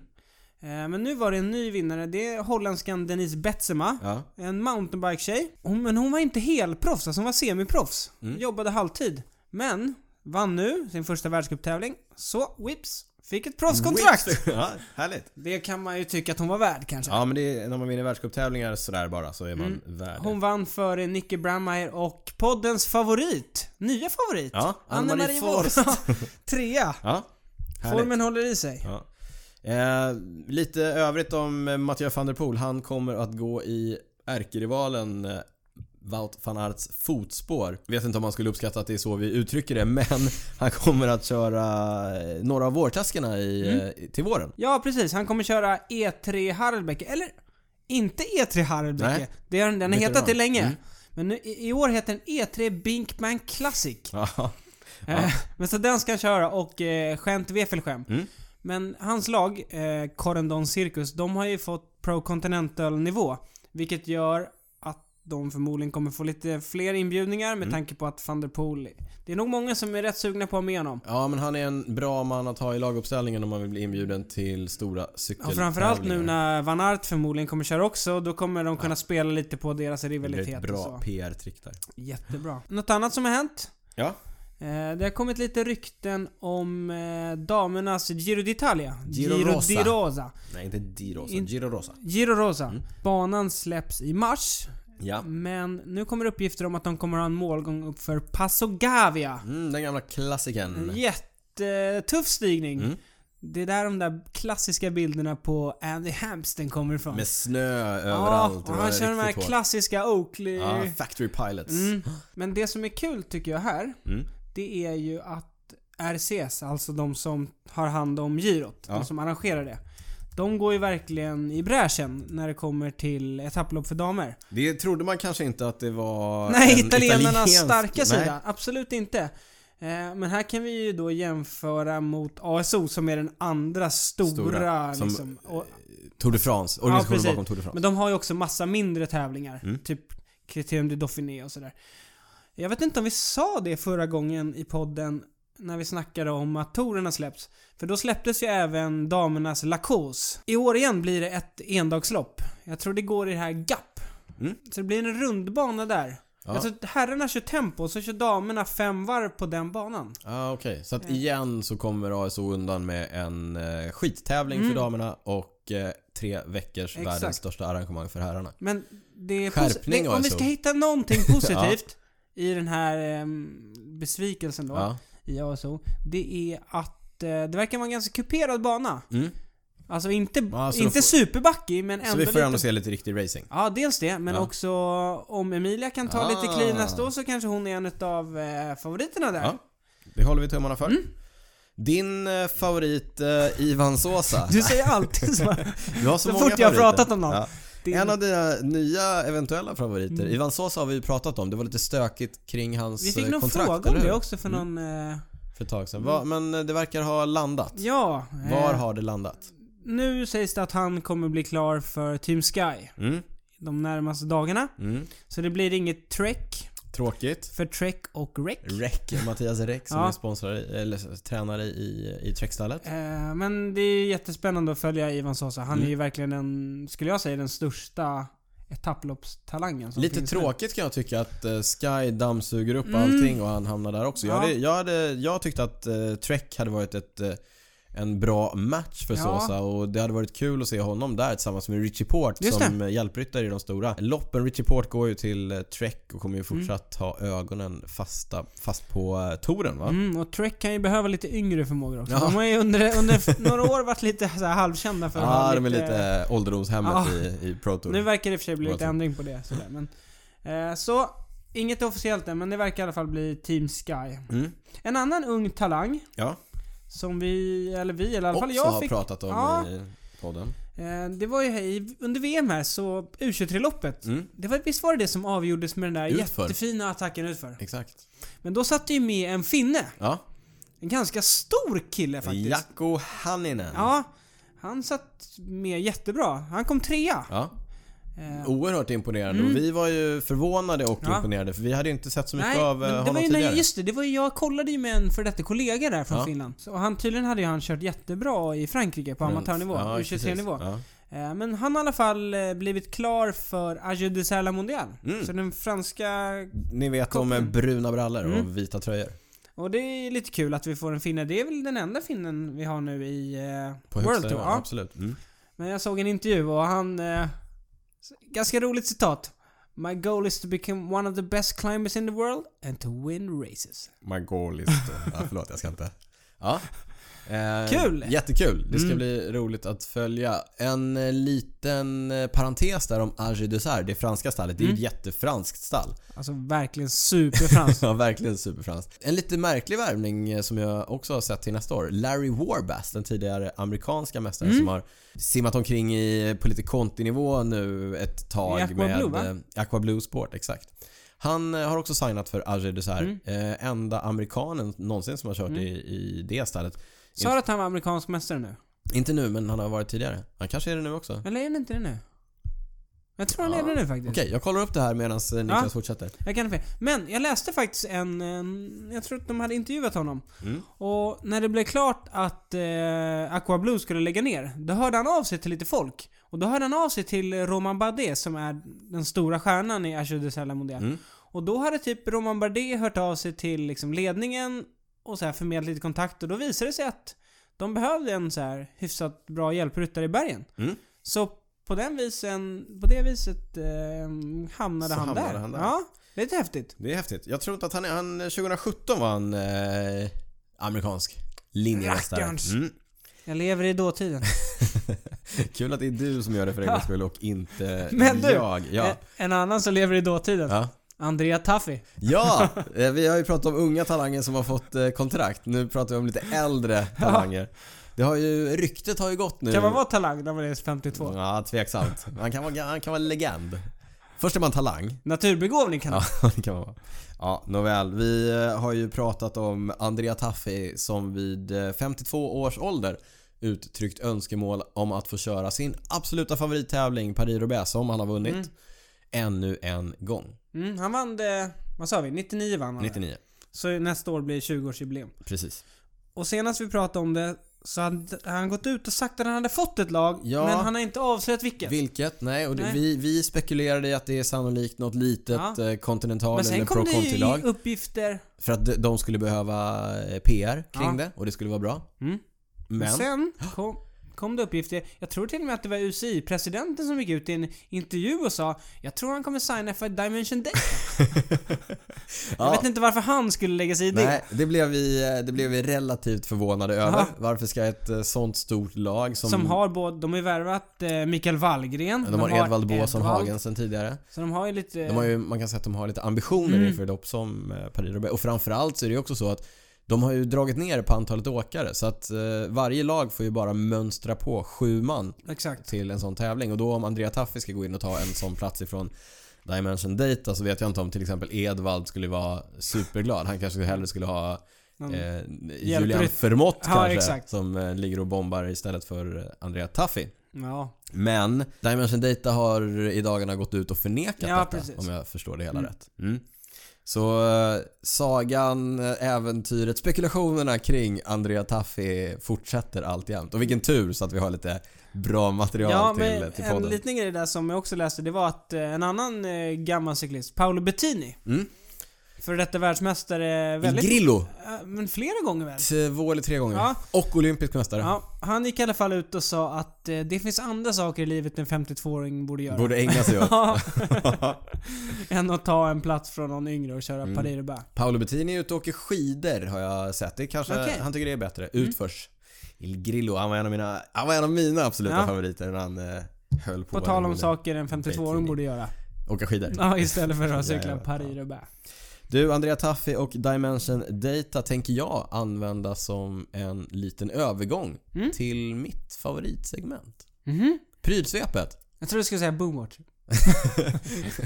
Speaker 2: Eh, Men nu var det en ny vinnare. Det är holländskan Denise Betsema.
Speaker 1: Ja.
Speaker 2: En mountainbike-tjej. Hon, men hon var inte helproffs, alltså hon var semiproffs.
Speaker 1: Mm.
Speaker 2: Jobbade halvtid. Men vann nu sin första världscuptävling. Så, whips, fick ett proffskontrakt.
Speaker 1: Whips. ja, härligt.
Speaker 2: Det kan man ju tycka att hon var värd kanske.
Speaker 1: Ja men det är, när man vinner världscuptävlingar sådär bara så är man värd.
Speaker 2: Mm. Hon vann före Nicky Brammeyer och poddens favorit, nya favorit,
Speaker 1: Ja, Ann-Marie Forst.
Speaker 2: Forst. Trea.
Speaker 1: Ja, härligt.
Speaker 2: Formen håller i sig.
Speaker 1: Ja. Eh, lite övrigt om eh, Mathieu van der Poel. Han kommer att gå i ärkerivalen eh, Wout van Aerts fotspår. Vet inte om man skulle uppskatta att det är så vi uttrycker det men han kommer att köra eh, några av vårklaskerna i,
Speaker 2: Mm.
Speaker 1: eh, till våren.
Speaker 2: Ja, precis. Han kommer köra E3 Harelbäcke. Eller, inte E3 Harelbäcke.
Speaker 1: Nej.
Speaker 2: Det har, den har
Speaker 1: Heter
Speaker 2: hetat det
Speaker 1: den?
Speaker 2: länge.
Speaker 1: Mm.
Speaker 2: Men nu, i i år heter den E3 Binkman Classic.
Speaker 1: Ja.
Speaker 2: Eh, men så den ska han köra och eh, skämt Wefelschem.
Speaker 1: Mm.
Speaker 2: Men hans lag, eh, Corendon Circus, de har ju fått Pro Continental nivå. Vilket gör att de förmodligen kommer få lite fler inbjudningar
Speaker 1: Mm.
Speaker 2: med tanke på att van der Poel... Det är nog många som är rätt sugna på att ha med honom.
Speaker 1: ja men han är en bra man att ha i laguppställningen om man vill bli inbjuden till stora
Speaker 2: Ja,
Speaker 1: cykeltävlingar.
Speaker 2: framförallt nu när Van Aert förmodligen kommer köra också, då kommer de kunna spela lite på deras
Speaker 1: det blir
Speaker 2: rivalitet
Speaker 1: ett
Speaker 2: och
Speaker 1: bra
Speaker 2: så.
Speaker 1: PR-trick där.
Speaker 2: Jättebra. Något annat som har hänt?
Speaker 1: Ja.
Speaker 2: Eh, det har kommit lite rykten om eh, damernas Giro d'Italia.
Speaker 1: Giro Rosa.
Speaker 2: di Rosa.
Speaker 1: Nej inte Di Rosa,
Speaker 2: In-
Speaker 1: Giro Rosa.
Speaker 2: Giro Rosa.
Speaker 1: Mm.
Speaker 2: Banan släpps i mars.
Speaker 1: Ja.
Speaker 2: Men nu kommer uppgifter om att de kommer ha en målgång upp för Passo Gavia.
Speaker 1: Mm, den gamla klassikern.
Speaker 2: En jättetuff stigning.
Speaker 1: Mm.
Speaker 2: Det är där de där klassiska bilderna på Andy Hampsten kommer ifrån.
Speaker 1: Med snö överallt.
Speaker 2: Ja, och han kör de här klassiska Oakley...
Speaker 1: Ja, Factory Pilots.
Speaker 2: Mm. Men det som är kul tycker jag här,
Speaker 1: Mm.
Speaker 2: det är ju att RCS, alltså de som har hand om girot,
Speaker 1: Ja.
Speaker 2: de som arrangerar det. De går ju verkligen i bräschen när det kommer till etapplopp för damer.
Speaker 1: Det trodde man kanske inte att det var
Speaker 2: Nej,
Speaker 1: en
Speaker 2: italienarnas
Speaker 1: italiensk-
Speaker 2: starka
Speaker 1: Nej.
Speaker 2: sida. Absolut inte. Eh, Men här kan vi ju då jämföra mot ASO som är den andra stora,
Speaker 1: Stora, som-
Speaker 2: liksom. Och,
Speaker 1: Tour de France, organisationen
Speaker 2: precis.
Speaker 1: bakom Tour de France.
Speaker 2: men de har ju också massa mindre tävlingar.
Speaker 1: Mm.
Speaker 2: Typ Criterium du Dauphiné och sådär. Jag vet inte om vi sa det förra gången i podden när vi snackade om att tourerna släpps. För då släpptes ju även damernas Lacos. I år igen blir det ett endagslopp. Jag tror det går i det här GAP.
Speaker 1: Mm.
Speaker 2: Så det blir en rundbana där.
Speaker 1: Ja.
Speaker 2: Alltså herrarna kör tempo och så kör damerna fem varv på den banan.
Speaker 1: Ah, Okej, så att igen så kommer ASO undan med en eh, skittävling för damerna och eh, tre veckors
Speaker 2: Mm. Exakt.
Speaker 1: världens största arrangemang för herrarna.
Speaker 2: Men det är
Speaker 1: Skärpning,
Speaker 2: posi- det, Om vi
Speaker 1: alltså.
Speaker 2: ska hitta någonting positivt i den här ehm, besvikelsen då
Speaker 1: Ja.
Speaker 2: i ASO. Det är att eh, det verkar vara en ganska kuperad bana.
Speaker 1: Mm.
Speaker 2: Alltså inte,
Speaker 1: Ja, så då
Speaker 2: inte
Speaker 1: får-
Speaker 2: superbackig men
Speaker 1: Så
Speaker 2: ändå
Speaker 1: vi får ändå
Speaker 2: lite...
Speaker 1: se lite riktig racing.
Speaker 2: Ja, dels det. Men
Speaker 1: Ja.
Speaker 2: också om Emilia kan ta lite
Speaker 1: Ah.
Speaker 2: kliv nästa år så kanske hon är en av eh, favoriterna där. Mm.
Speaker 1: Ja. Det håller vi tummarna för. Din eh, favorit eh, Ivan Sosa.
Speaker 2: Du säger alltid så.
Speaker 1: Du har så,
Speaker 2: Så
Speaker 1: många
Speaker 2: fort jag har
Speaker 1: favoriter.
Speaker 2: pratat om någon. Din- Mm.
Speaker 1: En av dina nya eventuella favoriter, Ivan Sosa har vi ju pratat om. Det var lite stökigt kring hans
Speaker 2: Vi fick
Speaker 1: eh,
Speaker 2: någon
Speaker 1: kontrakt,
Speaker 2: fråga
Speaker 1: eller
Speaker 2: om
Speaker 1: hur? Mm.
Speaker 2: det också Mm. för någon... Eh,
Speaker 1: För ett tag sedan. Va, men eh, det verkar ha landat.
Speaker 2: ja. eh,
Speaker 1: Var har det landat?
Speaker 2: Nu sägs det att han kommer bli klar för Team Sky
Speaker 1: Mm.
Speaker 2: de närmaste dagarna.
Speaker 1: Mm.
Speaker 2: Så det blir inget Trek
Speaker 1: Tråkigt.
Speaker 2: för Trek och Rec.
Speaker 1: Reck, Mattias Reck som
Speaker 2: Ja.
Speaker 1: är sponsrare, i- eller tränare i, i Trek-stallet.
Speaker 2: Eh, men det är jättespännande att följa Ivan Sosa. Han
Speaker 1: Mm.
Speaker 2: är ju verkligen den, skulle jag säga, den största etapploppstalangen som
Speaker 1: Lite
Speaker 2: finns nu.
Speaker 1: tråkigt kan jag tycka att eh, Sky dammsuger upp
Speaker 2: Mm.
Speaker 1: allting och han hamnar där också. Jag,
Speaker 2: Ja.
Speaker 1: hade, jag, hade, jag tyckte att eh, Trek hade varit ett, eh, en bra match för
Speaker 2: Ja.
Speaker 1: Sosa och det hade varit kul att se honom där tillsammans med Richie Port
Speaker 2: Just
Speaker 1: som eh, hjälpryttare i de stora loppen. Richie Port går ju till eh, Trek och kommer
Speaker 2: Mm.
Speaker 1: ju fortsatt ha ögonen fasta, fast på eh, touren va?
Speaker 2: Mm, och Trek kan ju behöva lite yngre förmågor också.
Speaker 1: Ja.
Speaker 2: De har ju under, under några år varit lite så här halvkända för
Speaker 1: Ja,
Speaker 2: att ha
Speaker 1: de är lite eh, ålderdomshemmet
Speaker 2: Ja.
Speaker 1: i, i Pro Tour.
Speaker 2: Nu verkar det i och för sig bli
Speaker 1: Vad
Speaker 2: lite
Speaker 1: tror-
Speaker 2: ändring på det. Sådär. Men, eh, så, inget officiellt än, men det verkar i alla fall bli Team Sky.
Speaker 1: Mm.
Speaker 2: En annan ung talang
Speaker 1: Ja.
Speaker 2: som vi, eller vi, eller i alla fall
Speaker 1: också
Speaker 2: jag
Speaker 1: har
Speaker 2: fick.
Speaker 1: pratat om
Speaker 2: Ja.
Speaker 1: i podden.
Speaker 2: Eh, det var ju här i, under VM här, så U23-loppet.
Speaker 1: Mm,
Speaker 2: Det var, visst var det det som avgjordes med den där
Speaker 1: Utför.
Speaker 2: jättefina attacken utför?
Speaker 1: exakt.
Speaker 2: Men då satt det ju med en finne.
Speaker 1: Ja.
Speaker 2: En ganska stor kille faktiskt.
Speaker 1: Jakko Hanninen.
Speaker 2: Ja, han satt med jättebra. Han kom trea.
Speaker 1: Ja,
Speaker 2: Eh,
Speaker 1: Oerhört imponerande och vi var ju förvånade och
Speaker 2: Ja.
Speaker 1: imponerade för vi hade ju inte sett så mycket
Speaker 2: Nej,
Speaker 1: av eh,
Speaker 2: men det
Speaker 1: honom
Speaker 2: var ju, när-
Speaker 1: tidigare.
Speaker 2: just det, det var ju, jag kollade ju med en för detta kollega där från
Speaker 1: Ja.
Speaker 2: Finland. Så han, tydligen hade ju han kört jättebra i Frankrike på
Speaker 1: Men-
Speaker 2: amatörnivå,
Speaker 1: Mm. ja,
Speaker 2: U23-nivå.
Speaker 1: precis. Ja.
Speaker 2: Eh, Men han har i alla fall eh, blivit klar för Agio de Serla Mondial.
Speaker 1: Mm.
Speaker 2: Så den franska...
Speaker 1: Ni vet om
Speaker 2: Koppen.
Speaker 1: bruna brallor
Speaker 2: Mm.
Speaker 1: och vita tröjor.
Speaker 2: Och det är lite kul att vi får en finne. Det är väl den enda finnen vi har nu i eh,
Speaker 1: På
Speaker 2: World
Speaker 1: högsta
Speaker 2: Tour.
Speaker 1: nivå,
Speaker 2: Ja.
Speaker 1: absolut. Mm.
Speaker 2: Men jag såg en intervju och han... Eh, ganska roligt citat. My goal is to become one of the best climbers in the world and to win races.
Speaker 1: My goal is to... ja, förlåt, jag ska inte. Ja. Eh,
Speaker 2: Kul!
Speaker 1: Jättekul. Det ska
Speaker 2: Mm.
Speaker 1: bli roligt att följa. En eh, liten eh, parentes där om Agi Dessert, det franska stallet. Det är ju ett
Speaker 2: Mm.
Speaker 1: jättefranskt stall.
Speaker 2: Alltså verkligen superfranskt.
Speaker 1: Ja, verkligen superfranskt. En lite märklig värvning eh, som jag också har sett till nästa år. Larry Warbass, den tidigare amerikanska mästaren
Speaker 2: Mm.
Speaker 1: som har simmat omkring i, på lite kontinivå nu ett tag
Speaker 2: I Aqua
Speaker 1: med
Speaker 2: Blue, va?
Speaker 1: eh, Aqua Blue Sport, exakt. Han eh, har också signat för Alger Dessert.
Speaker 2: Mm.
Speaker 1: Eh, enda amerikanen någonsin som har kört i, i det stället.
Speaker 2: Sa du att han var amerikansk mästare nu?
Speaker 1: Inte nu, men han har varit tidigare. Han kanske är det nu också.
Speaker 2: Eller är han inte det nu? Jag tror han
Speaker 1: Ja.
Speaker 2: är det nu faktiskt.
Speaker 1: Okej, jag kollar upp det här medan eh, Niklas
Speaker 2: Ja.
Speaker 1: fortsätter.
Speaker 2: Jag kan ha fel. Men jag läste faktiskt en, en... Jag tror att de hade intervjuat honom.
Speaker 1: Mm.
Speaker 2: Och när det blev klart att eh, Aqua Blue skulle lägga ner, då hörde han av sig till lite folk. Och då hörde han av sig till Roman Bardet som är den stora stjärnan i Asho de Sella Mondial.
Speaker 1: Mm.
Speaker 2: Och då hade typ Roman Bardet hört av sig till liksom, ledningen och så här förmedlat lite kontakt. Och då visade det sig att de behövde en så här hyfsat bra hjälpryttare i bergen.
Speaker 1: Mm.
Speaker 2: Så på, den visen, på det viset eh, hamnade,
Speaker 1: Så
Speaker 2: han,
Speaker 1: hamnade
Speaker 2: där.
Speaker 1: han där.
Speaker 2: Ja, det är lite häftigt.
Speaker 1: Det är häftigt. Jag tror inte att han är... Han, 2017 var han eh, amerikansk linjemästare.
Speaker 2: Rackarns.
Speaker 1: Mm.
Speaker 2: Jag lever i dåtiden.
Speaker 1: Kul att det är du som gör det för en gångs skull och inte
Speaker 2: Men du,
Speaker 1: jag. Ja.
Speaker 2: Eh, En annan som lever i dåtiden.
Speaker 1: Ja.
Speaker 2: Andrea Taffi.
Speaker 1: ja, eh, vi har ju pratat om unga talanger som har fått eh, kontrakt. Nu pratar vi om lite äldre talanger. Det har ju, ryktet har ju gått nu.
Speaker 2: Kan man vara talang när man är 52?
Speaker 1: Ja, tveksamt. Han kan vara, han kan vara en legend. Först är man talang.
Speaker 2: Naturbegåvning kan
Speaker 1: Ja, det kan man vara. Ja, nåväl. Vi eh, har ju pratat om Andrea Taffi som vid eh, 52 års ålder uttryckt önskemål om att få köra sin absoluta favorittävling Paris-Roubaix som han har vunnit
Speaker 2: Mm.
Speaker 1: ännu en gång.
Speaker 2: mm, Han vann det, vad sa vi? 99 vann han.
Speaker 1: 99.
Speaker 2: Så nästa år blir 20-årsjubileum.
Speaker 1: Precis.
Speaker 2: Och senast vi pratade om det så hade han gått ut och sagt att han hade fått ett lag,
Speaker 1: Ja.
Speaker 2: men han har inte avslöjat vilket.
Speaker 1: Vilket? Nej, och det,
Speaker 2: Nej.
Speaker 1: Vi, vi spekulerade i att det är sannolikt något litet
Speaker 2: Ja.
Speaker 1: eh, Continental
Speaker 2: men
Speaker 1: eller
Speaker 2: sen
Speaker 1: Pro
Speaker 2: kom det
Speaker 1: Conti-lag.
Speaker 2: ju uppgifter.
Speaker 1: För att de- de skulle behöva eh, PR kring
Speaker 2: Ja.
Speaker 1: det och det skulle vara bra.
Speaker 2: Mm. Men.
Speaker 1: Men,
Speaker 2: Sen kom, kom det uppgifter. Jag tror till och med att det var UCI-presidenten som gick ut i en intervju och sa Jag tror han kommer signa för Dimension Data. Jag
Speaker 1: ja,
Speaker 2: vet inte varför han skulle lägga sig i det.
Speaker 1: nej, det blev, vi, eh, det blev vi relativt förvånade över. Varför ska ett eh, sånt stort lag som,
Speaker 2: Som, har både, de har ju värvat eh, Mikael Wallgren.
Speaker 1: de har Edvald Båsson
Speaker 2: Edvald. Eh.
Speaker 1: Hagen sen tidigare.
Speaker 2: Så de har ju lite...
Speaker 1: De har ju, man kan säga att de har lite ambitioner inför lopp som eh, Paris-Roubaix. Och framförallt så är det ju också så att de har ju dragit ner på antalet åkare så att eh, varje lag får ju bara mönstra på sju man
Speaker 2: Exakt.
Speaker 1: till en sån tävling. Och då om Andrea Taffi ska gå in och ta en sån plats ifrån Dimension Data så vet jag inte om till exempel Edvald skulle vara superglad. Han kanske hellre skulle ha eh,
Speaker 2: De, dig.
Speaker 1: Julian Fermott
Speaker 2: Ja,
Speaker 1: kanske
Speaker 2: exakt.
Speaker 1: som eh, ligger och bombar istället för eh, Andrea Taffi.
Speaker 2: ja.
Speaker 1: Men Dimension Data har i dagarna gått ut och förnekat
Speaker 2: Ja,
Speaker 1: detta
Speaker 2: precis.
Speaker 1: om jag förstår det hela
Speaker 2: Mm.
Speaker 1: rätt. Mm. Så eh, sagan, eh, äventyret, spekulationerna kring Andrea Taffi fortsätter alltjämt. Och vilken tur så att vi har lite bra material
Speaker 2: Ja,
Speaker 1: till,
Speaker 2: men
Speaker 1: till
Speaker 2: en
Speaker 1: podden.
Speaker 2: liten grej där som jag också läste, det var att eh, en annan eh, gammal cyklist, Paolo Bettini,
Speaker 1: Mm.
Speaker 2: före detta världsmästare väldigt...
Speaker 1: I Grillo,
Speaker 2: eh, men flera gånger väl?
Speaker 1: två eh, eller tre gånger.
Speaker 2: Ja.
Speaker 1: Och olympisk mästare.
Speaker 2: Ja, han gick i alla fall ut och sa att eh, det finns andra saker i livet en 52-åring borde göra.
Speaker 1: Borde ägna sig åt.
Speaker 2: Ja. Än att ta en plats från någon yngre och köra
Speaker 1: Mm.
Speaker 2: Paris-Roubaix.
Speaker 1: Paolo Bettini är ute och åker skidor har jag sett. Det kanske,
Speaker 2: Okej. Mm.
Speaker 1: han tycker det är bättre. Utförs. Il Grillo, han var en av mina, han var en av mina absoluta
Speaker 2: Ja.
Speaker 1: favoriter när han eh, höll på.
Speaker 2: På
Speaker 1: där
Speaker 2: tal
Speaker 1: med
Speaker 2: om
Speaker 1: det.
Speaker 2: saker en 52-åring
Speaker 1: Bettini.
Speaker 2: borde göra.
Speaker 1: Åka skidor.
Speaker 2: Ja, istället för att cykla
Speaker 1: Jävlar.
Speaker 2: Paris-Roubaix.
Speaker 1: Du, Andrea Taffi och Dimension Data tänker jag använda som en liten övergång
Speaker 2: Mm.
Speaker 1: till mitt favoritsegment.
Speaker 2: Mhm.
Speaker 1: Prylsvepet.
Speaker 2: Jag tror du skulle säga boomwatch.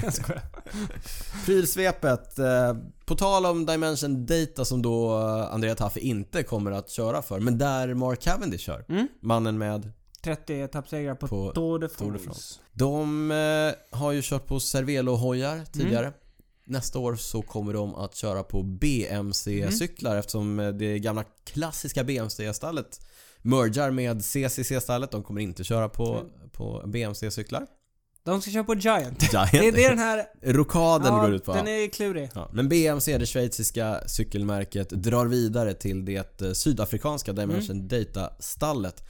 Speaker 2: jag skojar.
Speaker 1: Prylsvepet. Eh, på tal om Dimension Data som då eh, Andrea Taffi inte kommer att köra för, men där Mark Cavendish kör.
Speaker 2: Mm.
Speaker 1: Mannen med
Speaker 2: 30 etappsegrar på,
Speaker 1: På
Speaker 2: Tour de
Speaker 1: Tour de
Speaker 2: France.
Speaker 1: De eh, har ju kört på
Speaker 2: Mm.
Speaker 1: Cervelo-hojar tidigare. Nästa år så kommer de att köra på BMC-cyklar
Speaker 2: Mm.
Speaker 1: eftersom eh, det gamla klassiska BMC-stallet mergar med CCC-stallet. De kommer inte köra på, på BMC-cyklar.
Speaker 2: De ska köra på Giant. Mm. Det är
Speaker 1: Giant.
Speaker 2: det den här...
Speaker 1: Rokaden
Speaker 2: ja,
Speaker 1: går ut på.
Speaker 2: den är klurig.
Speaker 1: Ja, men BMC, det schweiziska cykelmärket, drar vidare till det eh, sydafrikanska Dimension Data-stallet.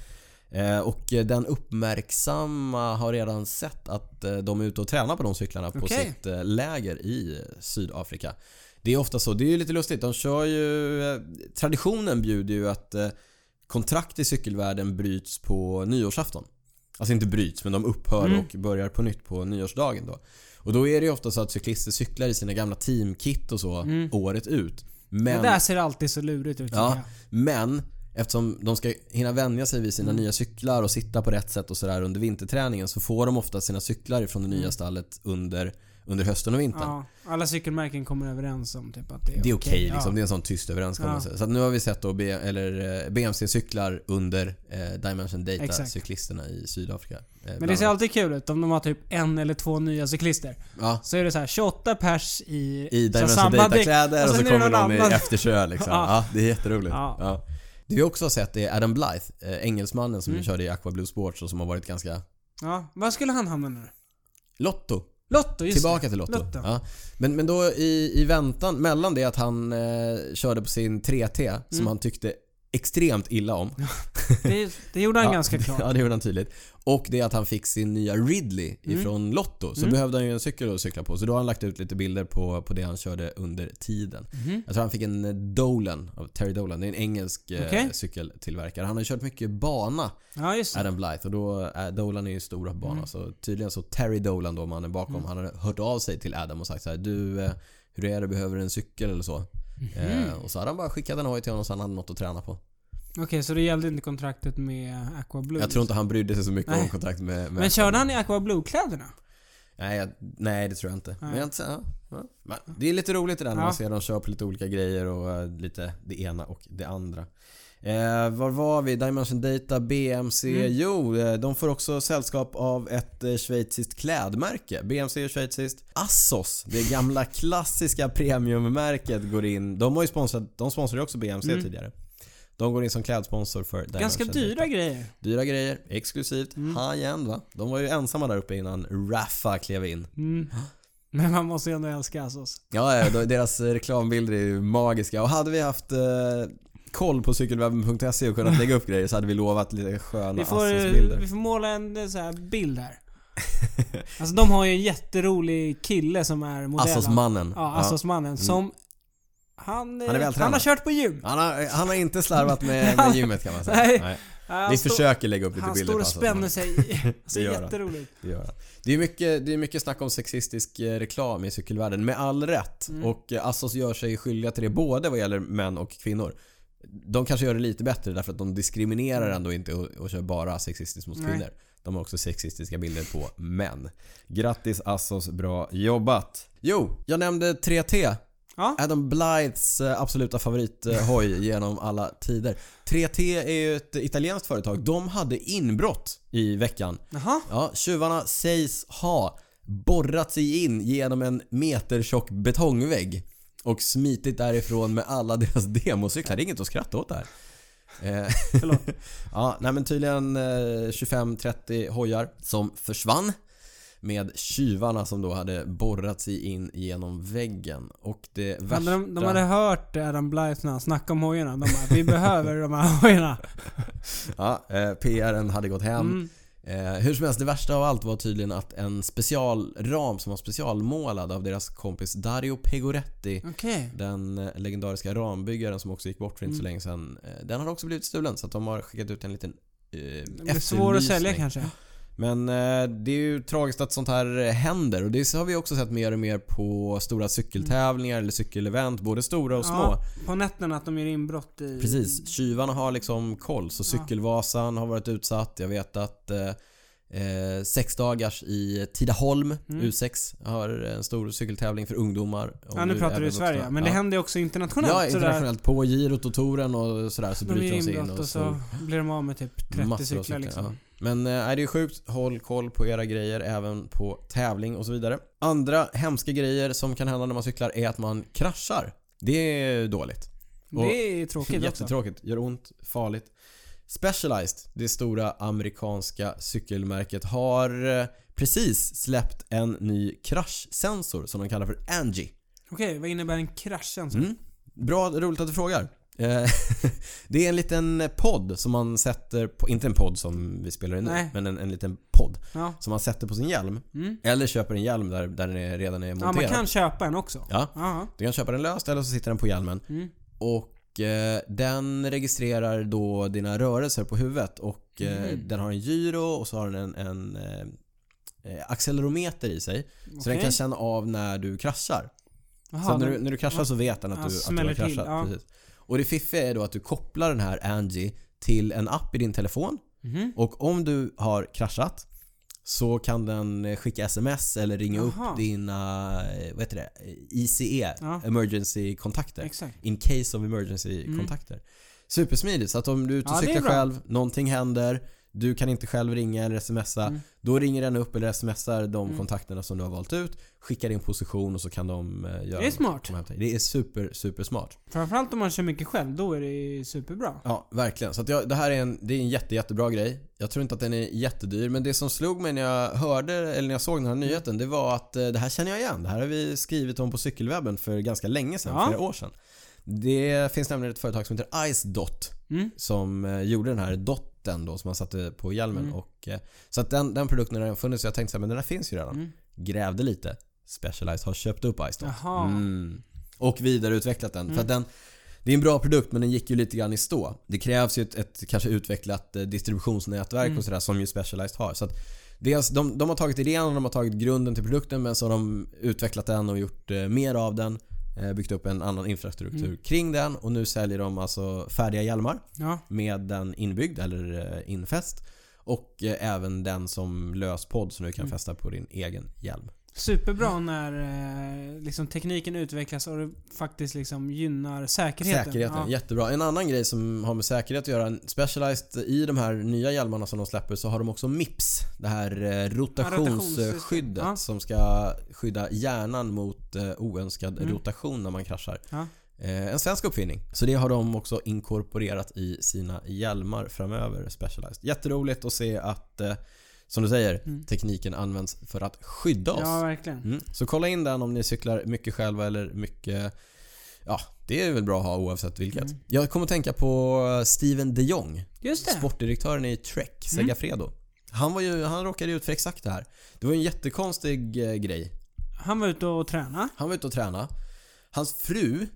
Speaker 1: Eh, och eh, den uppmärksamma har redan sett att eh, de är ute och tränar på de cyklarna på
Speaker 2: Okej.
Speaker 1: sitt eh, läger i eh, Sydafrika. Det är ofta så. Det är ju lite lustigt. De kör ju... eh, Traditionen bjuder ju att eh, kontrakt i cykelvärlden bryts på nyårsafton. Alltså inte bryts, men de upphör
Speaker 2: Mm.
Speaker 1: och börjar på nytt på nyårsdagen då. Och då är det ju ofta så att cyklister cyklar i sina gamla teamkit och så
Speaker 2: Mm.
Speaker 1: året ut.
Speaker 2: Det
Speaker 1: Men,
Speaker 2: där ser alltid så lurigt ut tycker
Speaker 1: ja,
Speaker 2: jag.
Speaker 1: men eftersom de ska hinna vänja sig vid sina
Speaker 2: Mm.
Speaker 1: nya cyklar och sitta på rätt sätt och sådär under vinterträningen så får de ofta sina cyklar ifrån det
Speaker 2: Mm.
Speaker 1: nya stallet under, under hösten och vintern.
Speaker 2: Ja, alla cykelmärken kommer överens om typ att det är
Speaker 1: Det är okej liksom.
Speaker 2: Ja.
Speaker 1: Det är en sån tyst överenskommelse. Så att nu har vi sett då B- eller, eh, BMC-cyklar under eh, Dimension
Speaker 2: Exakt.
Speaker 1: Data-cyklisterna i Sydafrika. eh,
Speaker 2: Men
Speaker 1: bland
Speaker 2: det ser
Speaker 1: annat.
Speaker 2: alltid kul ut om de har typ en eller två nya cyklister.
Speaker 1: ja,
Speaker 2: Så är det så här 28 pers i,
Speaker 1: I
Speaker 2: så
Speaker 1: Dimension
Speaker 2: däck.
Speaker 1: Data-kläder och, så
Speaker 2: Och sen är det
Speaker 1: kommer
Speaker 2: någon
Speaker 1: de i
Speaker 2: annan.
Speaker 1: efterkör liksom. ja.
Speaker 2: Ja.
Speaker 1: det är jätteroligt. Ja.
Speaker 2: Ja.
Speaker 1: Det vi också har sett är Adam Blythe, eh, engelsmannen som
Speaker 2: Mm.
Speaker 1: ju körde i Aqua Blue Sports och som har varit ganska...
Speaker 2: Ja, var skulle han hamna nu?
Speaker 1: Lotto
Speaker 2: Lotto, just
Speaker 1: Tillbaka till Lotto.
Speaker 2: Lotto.
Speaker 1: Ja. Men, men då i, i väntan, mellan det att han eh, körde på sin 3T som
Speaker 2: Mm.
Speaker 1: han tyckte extremt illa om.
Speaker 2: Det, det gjorde han
Speaker 1: Ja,
Speaker 2: ganska klart.
Speaker 1: Ja, det gjorde han tydligt. Och det är att han fick sin nya Ridley
Speaker 2: Mm.
Speaker 1: ifrån Lotto. Så behövde han ju en cykel att cykla på. Så då har han lagt ut lite bilder på, på det han körde under tiden.
Speaker 2: Mhm.
Speaker 1: Jag tror han fick en eh, Dolan av Terry Dolan. Det är en engelsk eh,
Speaker 2: Okej.
Speaker 1: cykeltillverkare. Han har kört mycket bana,
Speaker 2: Ja, just det.
Speaker 1: Adam Blythe. Och då, eh, Dolan är ju stora på bana.
Speaker 2: Mm.
Speaker 1: Så tydligen så Terry Dolan då, mannen bakom, han har hört av sig till Adam och sagt så här: Du, eh, hur är det? Behöver du en cykel eller så?
Speaker 2: Mhm.
Speaker 1: Eh, och så hade han bara skickat en hoj till honom så han hade något att träna på.
Speaker 2: Okej, så det gällde inte kontraktet med Aqua Blue?
Speaker 1: Jag tror inte han brydde sig så mycket om
Speaker 2: Nej.
Speaker 1: kontakt med, med
Speaker 2: Men körde han i Aqua Blue-kläderna?
Speaker 1: Nej, jag, nej det tror jag inte. Men
Speaker 2: Nej.
Speaker 1: jag, inte- ja, ja. Men det är lite roligt det där när
Speaker 2: Ja.
Speaker 1: man ser dem köra på lite olika grejer och eh, lite det ena och det andra. Eh, var var vi? Dimension Data, BMC.
Speaker 2: Mm.
Speaker 1: Jo, eh, de får också sällskap av ett eh, schweiziskt klädmärke. BMC är schweiziskt. Assos, det gamla klassiska premiummärket, går in. De har ju sponsrat, de sponsrade ju också BMC
Speaker 2: Mm.
Speaker 1: tidigare. De går in som klädsponsor för Dimension
Speaker 2: Ganska dyra Mm.
Speaker 1: Data.
Speaker 2: grejer.
Speaker 1: Dyra grejer, exklusivt, high-end va? De var ju ensamma där uppe innan Raffa klev in.
Speaker 2: Mm. Men man måste ju ändå älska Assos.
Speaker 1: Ja, ja, de- deras eh, reklambilder är ju magiska. Och hade vi haft eh, koll på cykelwebben.se och kunnat lägga upp grejer så hade vi lovat lite sköna
Speaker 2: Vi får, eh,
Speaker 1: Assos-bilder.
Speaker 2: vi får måla en eh, så här bild här. Alltså de har ju en jätterolig kille som är modell.
Speaker 1: Assos-mannen.
Speaker 2: Ja, Assos-mannen. Som... Han, eh,
Speaker 1: Mm. Han är vältränad.
Speaker 2: han har kört på gym.
Speaker 1: Ja. Han, har, han har inte slarvat med, med gymmet kan man säga.
Speaker 2: Nej.
Speaker 1: Vi
Speaker 2: Han står-
Speaker 1: försöker lägga upp lite
Speaker 2: Han
Speaker 1: bilder
Speaker 2: står och
Speaker 1: Assos
Speaker 2: spänner
Speaker 1: mannen.
Speaker 2: sig. Alltså,
Speaker 1: Det gör han.
Speaker 2: jätteroligt.
Speaker 1: Det gör han. Det är mycket, det är mycket snack om sexistisk eh, reklam i cykelvärlden, med all rätt. Och eh, Assos gör sig skyldiga till det både vad gäller män och kvinnor. De kanske gör det lite bättre därför att de diskriminerar ändå inte och, och kör bara sexistiskt mot
Speaker 2: Nej.
Speaker 1: kvinnor. De har också sexistiska bilder på män. Grattis Assos, bra jobbat! Jo, jag nämnde 3T.
Speaker 2: Ja.
Speaker 1: Adam Blythes eh, absoluta favorithoj genom alla tider. 3T är ju ett italienskt företag. De hade inbrott i veckan.
Speaker 2: Jaha.
Speaker 1: Ja, tjuvarna sägs ha borrat sig in genom en metertjock betongvägg och smitit därifrån med alla deras democyklar. Det är inget att skratta åt där. Eh,
Speaker 2: Förlåt.
Speaker 1: ja, nej men tydligen eh, 25-30 hojar som försvann med tjuvarna som då hade borrat sig in genom väggen. Och det
Speaker 2: Hade
Speaker 1: värsta...
Speaker 2: de, de hade hört Adam Blythe när han snackade om hojarna. De bara, vi behöver de här hojarna.
Speaker 1: Ja, eh, PRn hade gått hem.
Speaker 2: Mm.
Speaker 1: Eh, hur som helst, det värsta av allt var tydligen att en specialram som var specialmålad av deras kompis Dario Pegoretti
Speaker 2: Okej.
Speaker 1: den eh, legendariska rambyggaren som också gick bort för inte så
Speaker 2: Mm.
Speaker 1: länge sedan. eh, Den har också blivit stulen så att de har skickat ut en liten eh,
Speaker 2: Det blir svårt att sälja
Speaker 1: efterlysning.
Speaker 2: kanske.
Speaker 1: Men eh, det är ju tragiskt att sånt här eh, händer och det har vi också sett mer och mer på stora cykeltävlingar eller cykelevent, både stora och små.
Speaker 2: Ja, på nätterna att de gör inbrott i...
Speaker 1: Precis, tjuvarna har liksom koll. Så
Speaker 2: Mm. Ja.
Speaker 1: Cykelvasan har varit utsatt. Jag vet att eh, eh, sex dagars i Tidaholm,
Speaker 2: Mm.
Speaker 1: U6, har en stor cykeltävling för ungdomar.
Speaker 2: Ja, nu pratar du i Sverige. Men det händer ju också internationellt.
Speaker 1: Ja,
Speaker 2: sådär.
Speaker 1: internationellt. På girot och touren och sådär så
Speaker 2: De
Speaker 1: bryter
Speaker 2: gör
Speaker 1: de sig in
Speaker 2: inbrott
Speaker 1: och
Speaker 2: och
Speaker 1: snor
Speaker 2: så blir de av med typ 30
Speaker 1: massor av
Speaker 2: cyklar, liksom.
Speaker 1: ja. Men eh, nej, det är sjukt. Håll koll på era grejer även på tävling och så vidare. Andra hemska grejer som kan hända när man cyklar är att man kraschar. Det är dåligt. Och-
Speaker 2: Det är tråkigt alltså. också.
Speaker 1: Jättetråkigt, gör ont, farligt. Specialized, det stora amerikanska cykelmärket, har eh, precis släppt en ny kraschsensor som de kallar för Angie.
Speaker 2: Okej, vad innebär en krasch ens?
Speaker 1: Mm. Bra, roligt att du frågar. Eh, det är en liten podd som man sätter på, inte en podd som vi spelar in nu,
Speaker 2: Nej.
Speaker 1: men en, en liten podd
Speaker 2: Ja.
Speaker 1: som man sätter på sin hjälm.
Speaker 2: Mm.
Speaker 1: Eller köper en hjälm där, där den är, redan är
Speaker 2: ja,
Speaker 1: monterad.
Speaker 2: man kan köpa en också.
Speaker 1: Ja.
Speaker 2: Ja.
Speaker 1: Du kan köpa den löst eller så sitter den på hjälmen.
Speaker 2: Mm.
Speaker 1: Och eh, den registrerar då dina rörelser på huvudet och eh,
Speaker 2: Mm.
Speaker 1: den har en gyro och så har den en, en eh, eh, accelerometer i sig. Så den
Speaker 2: Okej.
Speaker 1: kan känna av när du kraschar.
Speaker 2: Jaha,
Speaker 1: så att när
Speaker 2: den-
Speaker 1: du, när du kraschar så vet den att
Speaker 2: Ja,
Speaker 1: du, att du har
Speaker 2: smäller till,
Speaker 1: kraschat.
Speaker 2: ja.
Speaker 1: Precis. Och det fiffiga är då att du kopplar den här Angie till en app i din telefon
Speaker 2: Mhm.
Speaker 1: och om du har kraschat så kan den eh, skicka sms eller ringa
Speaker 2: Jaha.
Speaker 1: upp dina, eh, vad heter det, ICE,
Speaker 2: Ja.
Speaker 1: emergency-kontakter.
Speaker 2: Exakt.
Speaker 1: In case of emergency kontakter. Supersmidigt. Så att om du är ute och
Speaker 2: Mm. Ja, det är
Speaker 1: cyklar
Speaker 2: bra.
Speaker 1: själv, någonting händer, du kan inte själv ringa eller smsa.
Speaker 2: Mm.
Speaker 1: Då ringer den upp eller smsar de kontakterna som du har valt ut, skickar din position och så kan de eh, göra
Speaker 2: Det är smart.
Speaker 1: komma hem till dig. Det är super, super smart.
Speaker 2: Framförallt om man kör mycket själv, då är det ju superbra.
Speaker 1: Ja, verkligen. Så att jag, det här är en, det är en jätte, jättebra grej. Jag tror inte att den är jättedyr, men det som slog mig när jag hörde, eller när jag såg den här nyheten, det var att eh, det här känner jag igen. Det här har vi skrivit om på cykelwebben för ganska länge sedan,
Speaker 2: Ja.
Speaker 1: flera år sedan. Det finns nämligen ett företag som heter Ice Dot
Speaker 2: Mm.
Speaker 1: som eh, gjorde den här dotten då som man satte på hjälmen.
Speaker 2: Mm.
Speaker 1: Och, eh, så att den, den produkten har redan funnits och jag tänkte så här, men den här finns ju redan.
Speaker 2: Mm.
Speaker 1: Grävde lite. Specialized har köpt upp Ice Dot.
Speaker 2: Jaha.
Speaker 1: Mm. Och vidareutvecklat den. För att den det är en bra produkt men den gick ju lite grann i stå. Det krävs ju ett, ett kanske utvecklat eh, distributionsnätverk och sådär som ju Specialized har. Så att dels, de, de har tagit idén och de har tagit grunden till produkten men så har de utvecklat den och gjort eh, mer av den. Eh, byggt upp en annan infrastruktur kring den och nu säljer de alltså färdiga hjälmar
Speaker 2: Ja.
Speaker 1: med den inbyggd eller eh, infäst. Och eh, även den som lös podd som du kan fästa på din egen hjälm.
Speaker 2: Superbra när eh, liksom, tekniken utvecklas och det faktiskt liksom gynnar säkerheten. Ja.
Speaker 1: jättebra. En annan grej som har med säkerhet att göra. Specialized i de här nya hjälmarna som de släpper så har de också MIPS. Det här eh, rotationsskyddet
Speaker 2: Ja.
Speaker 1: som ska skydda hjärnan mot eh, oönskad
Speaker 2: Mm.
Speaker 1: rotation när man kraschar.
Speaker 2: Ja.
Speaker 1: Eh, En svensk uppfinning. Så det har de också inkorporerat i sina hjälmar framöver, Specialized. Jätteroligt att se att, eh, som du säger,
Speaker 2: Mm.
Speaker 1: tekniken används för att skydda oss.
Speaker 2: ja, verkligen.
Speaker 1: Mm. Så kolla in den om ni cyklar mycket själva eller mycket... Ja, det är väl bra att ha oavsett vilket.
Speaker 2: Mm.
Speaker 1: Jag kommer att tänka på Steven de Jong,
Speaker 2: Just det.
Speaker 1: sportdirektören i Trek,
Speaker 2: Mm.
Speaker 1: Segafredo. Han, var ju, han råkade ut för exakt det här. Det var ju en jättekonstig eh, grej.
Speaker 2: Han var ute och tränade.
Speaker 1: Han var ute och tränade. Hans fru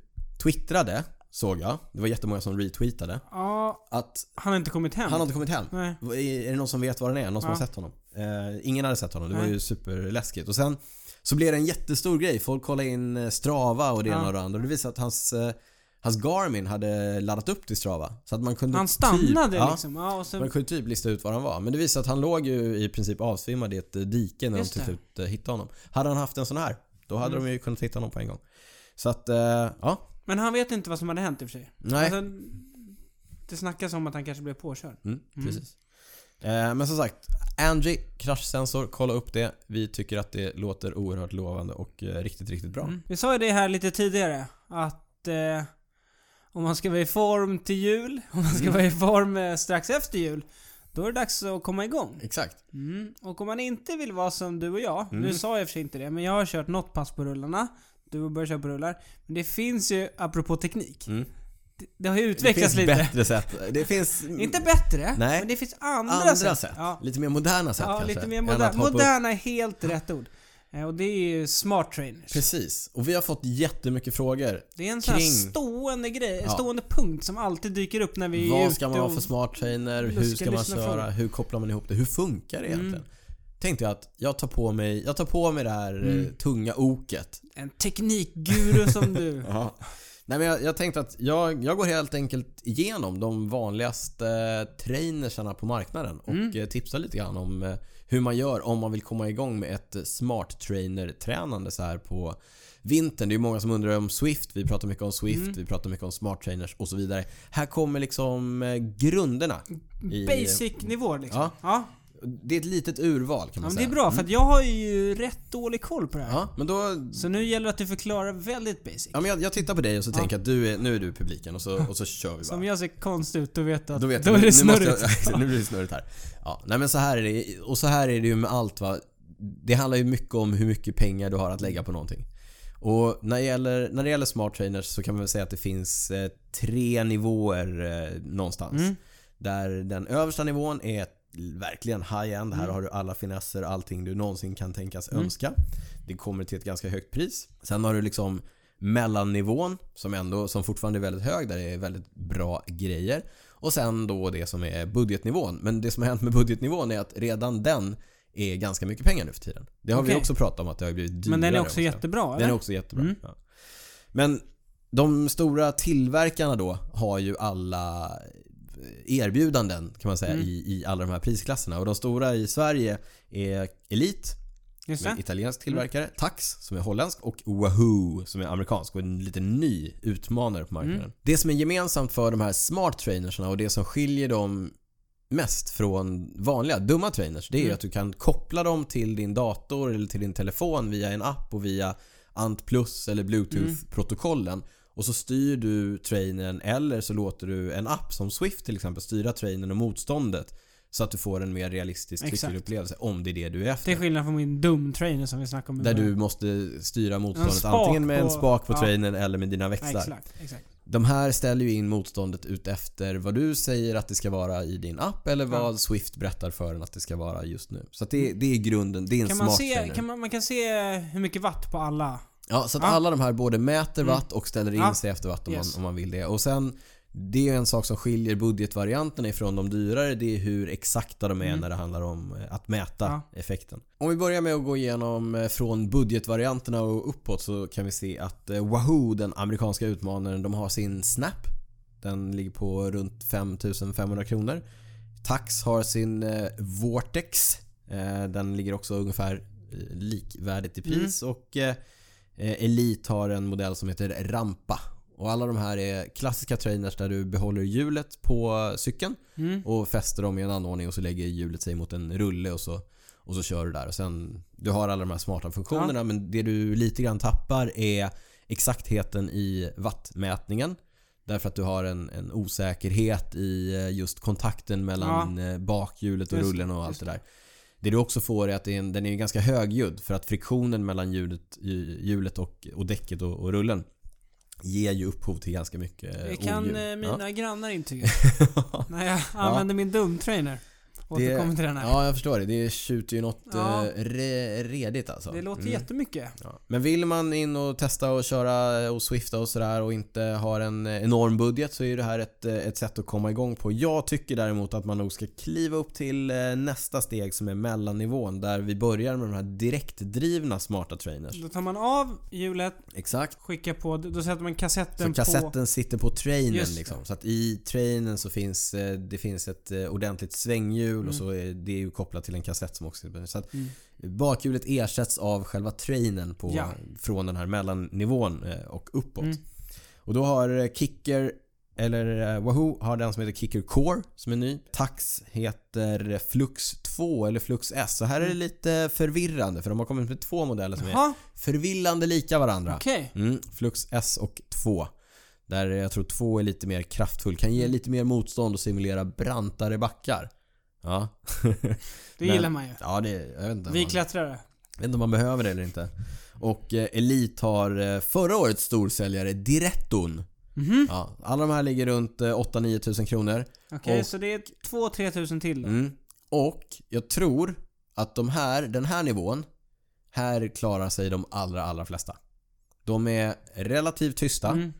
Speaker 1: twittrade, såg jag. Det var jättemånga som retweetade.
Speaker 2: Ja,
Speaker 1: Att
Speaker 2: han har inte kommit hem.
Speaker 1: han har inte kommit hem.
Speaker 2: Nej.
Speaker 1: Vad Är är det någon som vet var den är? Någon som
Speaker 2: Ja.
Speaker 1: har sett honom? Eh, ingen hade sett honom. Det var
Speaker 2: Nej.
Speaker 1: ju superläskigt. Och sen så blev det en jättestor grej. Folk kollade in eh, Strava och det
Speaker 2: Ja.
Speaker 1: ena och det andra. Och det visade att hans, eh, hans Garmin hade laddat upp till Strava. Så att man kunde
Speaker 2: Han stannade
Speaker 1: typ, ja,
Speaker 2: liksom. Ja, och
Speaker 1: man
Speaker 2: så,
Speaker 1: kunde typ lista ut var han var. Men det visade att han låg ju i princip avsvimmad i ett eh, dike när
Speaker 2: Just
Speaker 1: de till
Speaker 2: det.
Speaker 1: slut eh, hittade honom. Hade han haft en sån här, då hade
Speaker 2: Mm.
Speaker 1: de ju kunnat hitta honom på en gång. Så att, eh, ja.
Speaker 2: men han vet inte vad som hade hänt i och för sig.
Speaker 1: Nej.
Speaker 2: Alltså, det snackas om att han kanske blev påkörd.
Speaker 1: Mm,
Speaker 2: Mm.
Speaker 1: precis. Eh, men som sagt, Angie kraschsensor, kolla upp det. Vi tycker att det låter oerhört lovande och eh, riktigt, riktigt bra.
Speaker 2: Mm. Vi sa ju det här lite tidigare att eh, om man ska vara i form till jul, om man ska
Speaker 1: Mm.
Speaker 2: vara i form eh, strax efter jul, då är det dags att komma igång.
Speaker 1: Exakt.
Speaker 2: Mm. Och om man inte vill vara som du och jag,
Speaker 1: Mm.
Speaker 2: nu sa jag i och för sig inte det, men jag har kört något pass på rullarna, du har börjat köra på rullar. Men det finns ju, apropå teknik,
Speaker 1: Mm.
Speaker 2: det, det har ju
Speaker 1: Det
Speaker 2: utvecklats
Speaker 1: finns
Speaker 2: lite.
Speaker 1: bättre sätt. Det finns
Speaker 2: Inte bättre,
Speaker 1: Nej.
Speaker 2: men det finns andra,
Speaker 1: andra
Speaker 2: sätt.
Speaker 1: sätt.
Speaker 2: Ja,
Speaker 1: Lite mer moderna sätt
Speaker 2: ja
Speaker 1: kanske.
Speaker 2: lite mer
Speaker 1: än
Speaker 2: moderna.
Speaker 1: att hoppa upp.
Speaker 2: Moderna är helt rätt ord. Eh, Och det är ju smart trainers.
Speaker 1: Precis. Och vi har fått jättemycket frågor.
Speaker 2: Det är en sån här
Speaker 1: Kring.
Speaker 2: stående grej, en
Speaker 1: Ja.
Speaker 2: stående punkt som alltid dyker upp när vi är
Speaker 1: Vad
Speaker 2: ute
Speaker 1: ska man
Speaker 2: och...
Speaker 1: ha för smart trainer?
Speaker 2: Luska, Mm.
Speaker 1: Hur ska man
Speaker 2: lyssna
Speaker 1: köra? Hur kopplar man ihop det? Hur funkar det egentligen? Tänkte jag att jag tar på mig, jag tar på mig det här eh,
Speaker 2: Mm.
Speaker 1: tunga oket
Speaker 2: En teknikguru som du.
Speaker 1: Ja. Nej, men jag, jag tänkte att jag, jag går helt enkelt igenom de vanligaste eh, trainersarna på marknaden och
Speaker 2: Mm.
Speaker 1: eh, tipsar lite grann om eh, hur man gör om man vill komma igång med ett eh, smart trainer-tränande så här på vintern. Det är ju många som undrar om Swift. Vi pratar mycket om Swift,
Speaker 2: Mm.
Speaker 1: vi pratar mycket om smart trainers och så vidare. Här kommer liksom eh, grunderna. i-
Speaker 2: Basic-nivå liksom. Ja.
Speaker 1: Ja.
Speaker 2: Ja.
Speaker 1: Det är ett litet urval kan man
Speaker 2: men det
Speaker 1: säga. Mm.
Speaker 2: är bra för att jag har ju rätt dålig koll på det här.
Speaker 1: Ja, men då...
Speaker 2: Så nu gäller det att du förklarar väldigt basic.
Speaker 1: Ja, men jag, jag tittar på dig och så tänker jag att du är, nu är du publiken och så, och så kör vi bara.
Speaker 2: Som jag ser konstig ut, då vet du att
Speaker 1: Då vet
Speaker 2: då
Speaker 1: jag,
Speaker 2: är
Speaker 1: nu-
Speaker 2: det
Speaker 1: nu måste
Speaker 2: snurrigt.
Speaker 1: Jag, nu blir det snurrigt här. Ja, nej men så här är det, och så här är det ju med allt va. Det handlar ju mycket om hur mycket pengar du har att lägga på någonting. Och när det gäller, när det gäller smart trainers så kan man väl säga att det finns eh, tre nivåer eh, någonstans.
Speaker 2: Mm.
Speaker 1: Där den översta nivån är verkligen high-end.
Speaker 2: Mm.
Speaker 1: Här har du alla finesser, allting du någonsin kan tänkas önska. Det kommer till ett ganska högt pris. Sen har du liksom mellannivån som, ändå, som fortfarande är väldigt hög där det är väldigt bra grejer. Och sen då det som är budgetnivån. Men det som har hänt med budgetnivån är att redan den är ganska mycket pengar nu för tiden. Det har
Speaker 2: Okej.
Speaker 1: vi också pratat om att det har blivit dyrare.
Speaker 2: Men den är också
Speaker 1: också.
Speaker 2: jättebra,
Speaker 1: Den
Speaker 2: eller?
Speaker 1: är också jättebra.
Speaker 2: Mm.
Speaker 1: Ja. Men de stora tillverkarna då har ju alla eh, erbjudanden kan man säga
Speaker 2: Mm.
Speaker 1: i, i alla de här prisklasserna. Och de stora i Sverige är Elite,
Speaker 2: Just
Speaker 1: som är en
Speaker 2: det. Mm.
Speaker 1: italiensk tillverkare, Tax, som är holländsk och Wahoo, som är amerikansk och en lite ny utmanare på marknaden.
Speaker 2: Mm.
Speaker 1: Det som är gemensamt för de här smart trainersarna och det som skiljer dem mest från vanliga dumma trainers, det är ju
Speaker 2: Mm.
Speaker 1: att du kan koppla dem till din dator eller till din telefon via en app och via Ant Plus eller Bluetooth-protokollen.
Speaker 2: Mm.
Speaker 1: Och så styr du trainern eller så låter du en app som Swift till exempel styra trainern och motståndet. Så att du får en mer realistisk
Speaker 2: Exakt.
Speaker 1: cykelupplevelse om det är det du är efter.
Speaker 2: Till skillnad från min dum-trainer som vi snackade om i
Speaker 1: Där
Speaker 2: början.
Speaker 1: du måste styra
Speaker 2: En
Speaker 1: motståndet
Speaker 2: spak
Speaker 1: antingen med en
Speaker 2: på-
Speaker 1: spak på
Speaker 2: ja.
Speaker 1: trainern eller med dina
Speaker 2: Ja,
Speaker 1: växlar.
Speaker 2: Exakt, exakt.
Speaker 1: De här ställer ju in motståndet ut efter vad du säger att det ska vara i din app eller vad Swift berättar för en att det ska vara just nu. Så att det, det är grunden, det är en
Speaker 2: Kan man,
Speaker 1: smart
Speaker 2: se,
Speaker 1: trainer.
Speaker 2: kan man, man kan se eh, hur mycket watt på alla.
Speaker 1: Ja, så att
Speaker 2: Ja. Mm.
Speaker 1: alla de här både mäter watt och ställer in
Speaker 2: Ja.
Speaker 1: sig efter watt om, man,
Speaker 2: Yes.
Speaker 1: om man vill det. Och sen, det är en sak som skiljer budgetvarianterna ifrån de dyrare. Det är hur exakta de är när det handlar om eh, att mäta
Speaker 2: Mm. Ja.
Speaker 1: effekten. Om vi börjar med att gå igenom eh, från budgetvarianterna och uppåt så kan vi se att eh, Wahoo, den amerikanska utmanaren, de har sin Snap. Den ligger på runt 5500 kronor. Tax har sin eh, Vortex. Eh, den ligger också ungefär eh, likvärdigt i pris. Och eh, eh, Elite har en modell som heter Rampa. Och alla de här är klassiska trainers där du behåller hjulet på eh, cykeln
Speaker 2: Mm.
Speaker 1: och fäster dem i en anordning och så lägger hjulet sig mot en rulle och så, och så kör du där. Och sen, du har alla de här smarta funktionerna men det du lite grann tappar är exaktheten i wattmätningen. Därför att du har en, en osäkerhet i eh, just kontakten mellan eh, bakhjulet och
Speaker 2: Just-
Speaker 1: rullen och allt
Speaker 2: just
Speaker 1: det där. Det du också får är att det är en, den är ganska högljudd för att friktionen mellan hjulet, hjulet och, och däcket och, och rullen ger ju upphov till ganska mycket eh,
Speaker 2: Det kan
Speaker 1: oljud.
Speaker 2: eh,
Speaker 1: Ja.
Speaker 2: mina grannar intyga. När jag använder min dumtrainer. Återkommer till den här.
Speaker 1: Ja, jag förstår det. Det tjuter ju något
Speaker 2: Ja.
Speaker 1: eh, re, redigt alltså.
Speaker 2: Det låter
Speaker 1: Mm.
Speaker 2: jättemycket.
Speaker 1: Ja. Men vill man in och testa och köra och swifta och sådär och inte har en eh, enorm budget så är ju det här ett, eh, ett sätt att komma igång på. Jag tycker däremot att man nog ska kliva upp till eh, nästa steg som är mellannivån där vi börjar med de här direktdrivna smarta trainers.
Speaker 2: Då tar man av hjulet,
Speaker 1: Exakt.
Speaker 2: skickar på, då sätter man
Speaker 1: Så
Speaker 2: kassetten på.
Speaker 1: kassetten sitter på trainen
Speaker 2: Just det.
Speaker 1: liksom. Så att i trainen så finns eh, det finns ett eh, ordentligt svänghjul
Speaker 2: Mm.
Speaker 1: och så är det är ju kopplat till en kassett som också Så att bakhjulet ersätts av själva trainen på,
Speaker 2: Ja.
Speaker 1: från den här mellannivån eh, och uppåt.
Speaker 2: Mm.
Speaker 1: Och då har eh, Kicker eller eh, Wahoo har den som heter Kicker Core som är ny. Tax heter Flux 2 eller Flux S. Så här är det lite förvirrande för de har kommit med två modeller som är
Speaker 2: Mm. Jaha,
Speaker 1: förvillande lika varandra.
Speaker 2: okej.
Speaker 1: Mm, Flux S och 2. Där jag tror 2 är lite mer kraftfull. Kan ge lite mer motstånd och simulera brantare backar. Ja.
Speaker 2: Det
Speaker 1: Men-
Speaker 2: gillar man ju.
Speaker 1: Ja, det, jag, vet inte om
Speaker 2: Vi
Speaker 1: man, jag
Speaker 2: klättrare.
Speaker 1: vet inte om man behöver det eller inte. Och eh, Elite har eh, förra årets storsäljare Diretton.
Speaker 2: Mhm.
Speaker 1: Ja, alla de här ligger runt eh, 8-9 tusen kronor.
Speaker 2: Okej,
Speaker 1: Och-
Speaker 2: så det är 2-3 tusen till då.
Speaker 1: Mm. Och jag tror att de här, den här nivån, här klarar sig de allra, allra flesta. De är relativt tysta.
Speaker 2: Mm.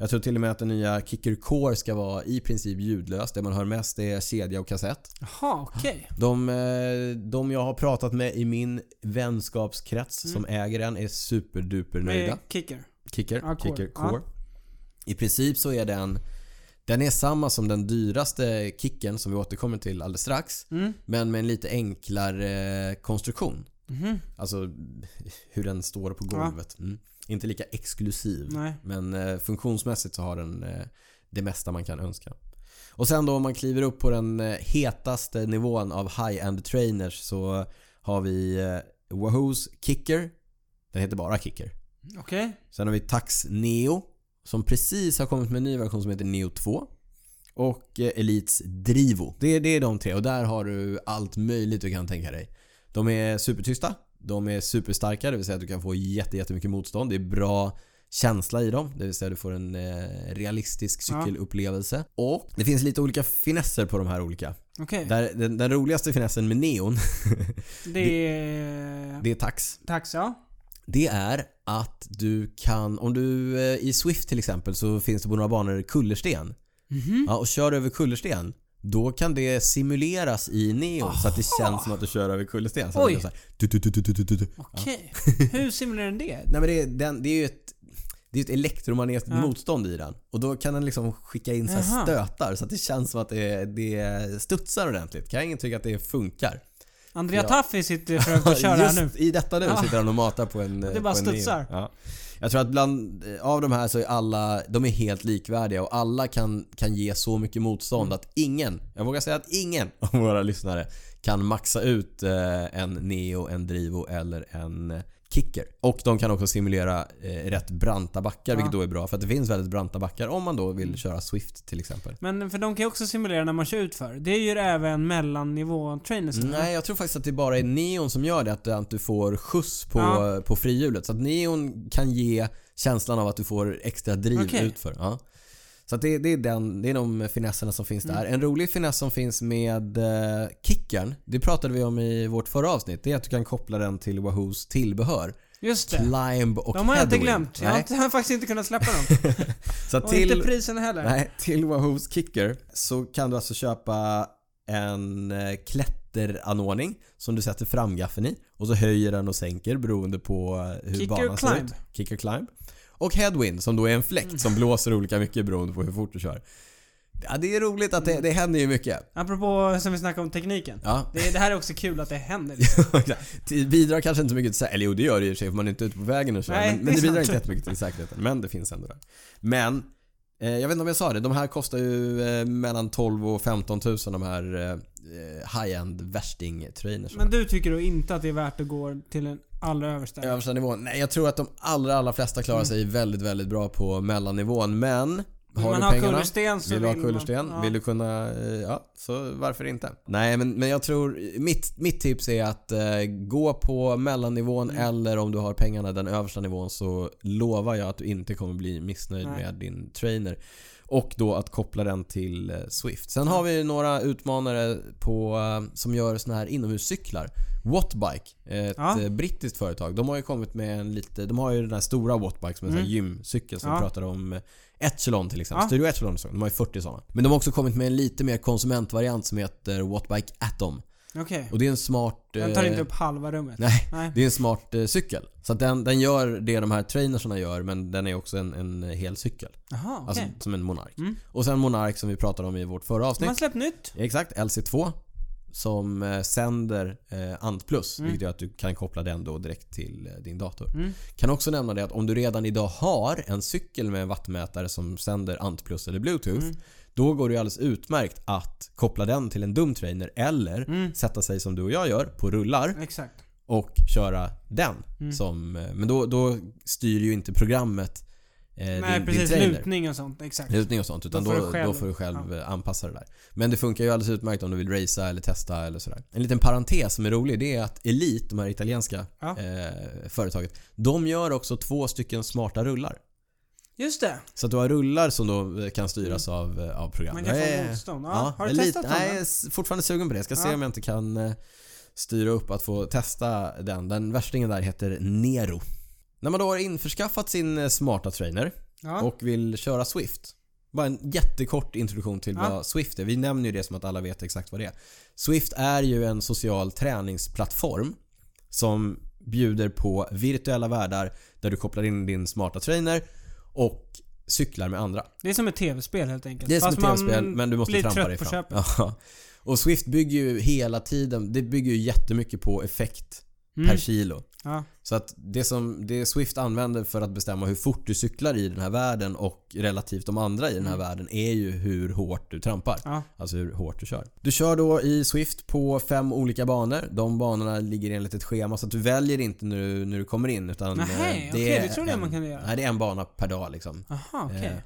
Speaker 1: Jag tror till och med att den nya Kicker Core ska vara i princip ljudlöst. Det man hör mest är kedja och kassett.
Speaker 2: Jaha, okej.
Speaker 1: De, eh, de jag har pratat med i min vänskapskrets som äger den är superduper nöjda.
Speaker 2: Mm. Med kicker.
Speaker 1: Kicker,
Speaker 2: Ja, Core.
Speaker 1: Kicker
Speaker 2: Ja.
Speaker 1: Core. I princip så är den den är samma som den dyraste kicken som vi återkommer till alldeles strax.
Speaker 2: Mm.
Speaker 1: Men med en lite enklare eh, konstruktion.
Speaker 2: Mhm.
Speaker 1: Alltså hur den står på
Speaker 2: Ja.
Speaker 1: golvet. Mm. Inte lika exklusiv.
Speaker 2: Nej.
Speaker 1: Men eh, funktionsmässigt så har den eh, det mesta man kan önska. Och sen då om man kliver upp på den eh, hetaste nivån av high-end trainers så har vi eh, Wahoos Kicker. Den heter bara Kicker.
Speaker 2: Okej.
Speaker 1: Sen har vi Tax Neo som precis har kommit med en ny version som heter Neo 2. Och eh, Elites Drivo. Det, är- det är de tre och där har du allt möjligt du kan tänka dig. De är supertysta. De är superstarka, det vill säga att du kan få jätte, jättemycket motstånd. Det är bra känsla i dem, det vill säga du får en eh, realistisk
Speaker 2: Ja.
Speaker 1: cykelupplevelse. Och det finns lite olika finesser på de här olika.
Speaker 2: Okej.
Speaker 1: Där, den, den roligaste finessen med neon,
Speaker 2: Det är...
Speaker 1: det är tax.
Speaker 2: Tax, ja.
Speaker 1: Det är att du kan, om du eh, i Swift till exempel så finns det på några banor kullersten.
Speaker 2: Mhm.
Speaker 1: Ja, och kör du över kullersten, då kan det simuleras i neon så att det känns som att du kör över kullersten. Så att
Speaker 2: Oj.
Speaker 1: det är så här, du, du, du, du, du, du, du.
Speaker 2: Okej. Hur simulerar den det?
Speaker 1: Nej men det, är- den, det är ju ett det är ett elektromagnetiskt motstånd i den. Och då kan den liksom skicka in så här
Speaker 2: Jaha.
Speaker 1: stötar så att det känns som att det, det studsar ordentligt. Kan ingen tycka att det funkar.
Speaker 2: Andrea
Speaker 1: Ja.
Speaker 2: Taffi sitter för att köra här
Speaker 1: Just
Speaker 2: nu.
Speaker 1: i detta nu
Speaker 2: Ja.
Speaker 1: sitter han och matar på en...
Speaker 2: Det bara
Speaker 1: på en neo.
Speaker 2: studsar.
Speaker 1: Ja. Jag tror att bland eh, av de här så är alla, de är helt likvärdiga och alla kan, kan ge så mycket motstånd
Speaker 2: Mm.
Speaker 1: att ingen, jag vågar säga att ingen av våra lyssnare kan maxa ut eh, en Neo, en Drivo eller en eh, Kicker. Och de kan också simulera eh, rätt branta backar vilket då är bra för att det finns väldigt branta backar om man då vill
Speaker 2: Mm.
Speaker 1: köra Swift till exempel.
Speaker 2: Men för de kan ju också simulera när man kör utför. Det gör även mellannivå-trainers.
Speaker 1: Nej, jag tror faktiskt att det bara är neon som gör det. Att du- att du får skjuts på,
Speaker 2: Ja.
Speaker 1: på frihjulet. Så att neon kan ge känslan av att du får extra driv
Speaker 2: Okej.
Speaker 1: utför. Ja. Så att det, det, är den, det är de finesserna som finns
Speaker 2: Mm.
Speaker 1: där. En rolig finess som finns med eh, kickern, det pratade vi om i vårt förra avsnitt, det är att du kan koppla den till Wahoos tillbehör.
Speaker 2: Just det.
Speaker 1: Climb och
Speaker 2: De har jag inte
Speaker 1: Headwind.
Speaker 2: glömt. Jag har,
Speaker 1: Nej.
Speaker 2: inte, jag har faktiskt inte kunnat släppa dem.
Speaker 1: Så att
Speaker 2: Och
Speaker 1: till,
Speaker 2: inte priserna heller.
Speaker 1: nej, till Wahoos kicker så kan du alltså köpa en eh, klätteranordning som du sätter framgaffeln i och så höjer den och sänker beroende på eh, hur
Speaker 2: Kick
Speaker 1: banan
Speaker 2: or
Speaker 1: ser
Speaker 2: climb. Mm.
Speaker 1: ut. Kicker climb. Och headwind som då är en fläkt som blåser olika mycket beroende på hur fort du kör. Ja, det är roligt att det, det händer ju mycket.
Speaker 2: Apropå som vi snackade om tekniken.
Speaker 1: Ja.
Speaker 2: Det, det här är också kul att det händer. liksom.
Speaker 1: det bidrar kanske inte så mycket till säkerheten. Eller jo, det gör det i och för sig för man är inte ute på vägen och kör.
Speaker 2: Nej,
Speaker 1: men,
Speaker 2: det
Speaker 1: men
Speaker 2: är
Speaker 1: det bidrar
Speaker 2: sant.
Speaker 1: inte jättemycket till säkerheten. Men det finns ändå där. Men, eh, jag vet inte om jag sa det. De här kostar ju eh, mellan 12 000 och 15 000 de här eh, high-end värsting trainers.
Speaker 2: Men du tycker då inte att det är värt att gå till den allra översta?
Speaker 1: Översta nivån? Nej, jag tror att de allra, allra flesta
Speaker 2: Mm.
Speaker 1: klarar sig väldigt, väldigt bra på mellannivån. Men,
Speaker 2: Vill
Speaker 1: har
Speaker 2: man
Speaker 1: du
Speaker 2: ha
Speaker 1: pengarna?
Speaker 2: kullersten så
Speaker 1: Vill du ha
Speaker 2: vill man-
Speaker 1: kullersten?
Speaker 2: ja.
Speaker 1: Vill du kunna... eh, Ja, så varför inte? Nej, men, men jag tror... Mitt, mitt tips är att eh, gå på mellannivån
Speaker 2: Mm.
Speaker 1: eller om du har pengarna den översta nivån så lovar jag att du inte kommer bli missnöjd
Speaker 2: Nej.
Speaker 1: med din trainer. Och då att koppla den till eh, Swift. Sen har vi några utmanare på, eh, som gör såna här inomhuscyklar. Wattbike, ett
Speaker 2: Ja.
Speaker 1: eh, brittiskt företag. De har ju kommit med en lite... De har ju den här stora Wattbike som är en
Speaker 2: Mm.
Speaker 1: sån här gymcykel som
Speaker 2: Ja.
Speaker 1: vi pratade om. eh, Echelon till exempel.
Speaker 2: Ja.
Speaker 1: Studio Echelon och så. De har ju 40 sådana. Men de har också kommit med en lite mer konsumentvariant som heter Wattbike Atom.
Speaker 2: Okej.
Speaker 1: Och det är en smart...
Speaker 2: Den tar
Speaker 1: eh,
Speaker 2: inte upp halva rummet.
Speaker 1: Nej.
Speaker 2: Nej.
Speaker 1: Det är en smart eh, cykel. Så att den, den gör det de här trainersarna gör men den är också en, en hel cykel.
Speaker 2: Jaha, okej.
Speaker 1: Alltså som en Monark.
Speaker 2: Mm.
Speaker 1: Och sen Monark som vi pratade om i vårt förra
Speaker 2: De
Speaker 1: avsnitt.
Speaker 2: har släppt nytt.
Speaker 1: Exakt, LC2. Som eh, sänder eh, ANT+,
Speaker 2: Mm.
Speaker 1: vilket gör att du kan koppla den då direkt till eh, din dator. Kan också nämna det att om du redan idag har en cykel med en wattmätare som sänder ANT+, eller Bluetooth.
Speaker 2: Mm.
Speaker 1: Då går det ju alldeles utmärkt att koppla den till en dumtrainer eller
Speaker 2: Mm.
Speaker 1: sätta sig som du och jag gör på rullar
Speaker 2: Exakt.
Speaker 1: och köra den.
Speaker 2: Mm.
Speaker 1: Som, eh, men då, då styr ju inte programmet eh,
Speaker 2: Nej,
Speaker 1: din,
Speaker 2: precis.
Speaker 1: din trainer
Speaker 2: Lutning och sånt. Exakt.
Speaker 1: lutning och sånt. Utan
Speaker 2: Då
Speaker 1: då,
Speaker 2: får du
Speaker 1: då,
Speaker 2: själv-
Speaker 1: får du själv eh, anpassa det där. Men det funkar ju alldeles utmärkt om du vill racea eller testa eller sådär. En liten parentes som är rolig det är att Elite, de här italienska
Speaker 2: Ja.
Speaker 1: eh, företaget. De gör också två stycken smarta rullar.
Speaker 2: Just det.
Speaker 1: Så att du har rullar som då eh, kan styras
Speaker 2: Mm.
Speaker 1: av, eh, av program.
Speaker 2: Man kan få
Speaker 1: Jag är-
Speaker 2: motstånd. Ja,
Speaker 1: Ja,
Speaker 2: har du
Speaker 1: jag är
Speaker 2: testat
Speaker 1: lite,
Speaker 2: dem?
Speaker 1: Nej, jag är s- fortfarande sugen på det. Jag ska se
Speaker 2: Ja.
Speaker 1: om jag inte kan eh, styra upp att få testa den. Den värstingen där heter Nero. När man då har införskaffat sin eh, smarta trainer
Speaker 2: Ja.
Speaker 1: och vill köra Swift. Bara en jättekort introduktion till
Speaker 2: Ja.
Speaker 1: vad Swift är. Vi nämner ju det som att alla vet exakt vad det är. Swift är ju en social träningsplattform som bjuder på virtuella världar där du kopplar in din smarta trainer och cyklar med andra.
Speaker 2: Det är som ett tv-spel helt enkelt.
Speaker 1: Det är som ett
Speaker 2: Fast man
Speaker 1: tv-spel men du måste
Speaker 2: blir
Speaker 1: trampa
Speaker 2: trött
Speaker 1: dig
Speaker 2: på
Speaker 1: fram.
Speaker 2: köpet.
Speaker 1: Ja. Och Swift bygger ju hela tiden, det bygger ju jättemycket på effekt per
Speaker 2: Mm.
Speaker 1: kilo.
Speaker 2: Ja.
Speaker 1: Så att det som det Swift använder för att bestämma hur fort du cyklar i den här världen och relativt de andra i den här
Speaker 2: Mm.
Speaker 1: världen är ju hur hårt du trampar.
Speaker 2: Ja.
Speaker 1: Alltså hur hårt du kör. Du kör då i Swift på fem olika banor. De banorna ligger enligt ett schema så att du väljer inte när du, när du kommer in utan
Speaker 2: Nähä,
Speaker 1: eh,
Speaker 2: okej, det trodde jag
Speaker 1: en,
Speaker 2: man kunde göra.
Speaker 1: Nej, det är en bana per dag liksom.
Speaker 2: Aha, okej.
Speaker 1: Eh,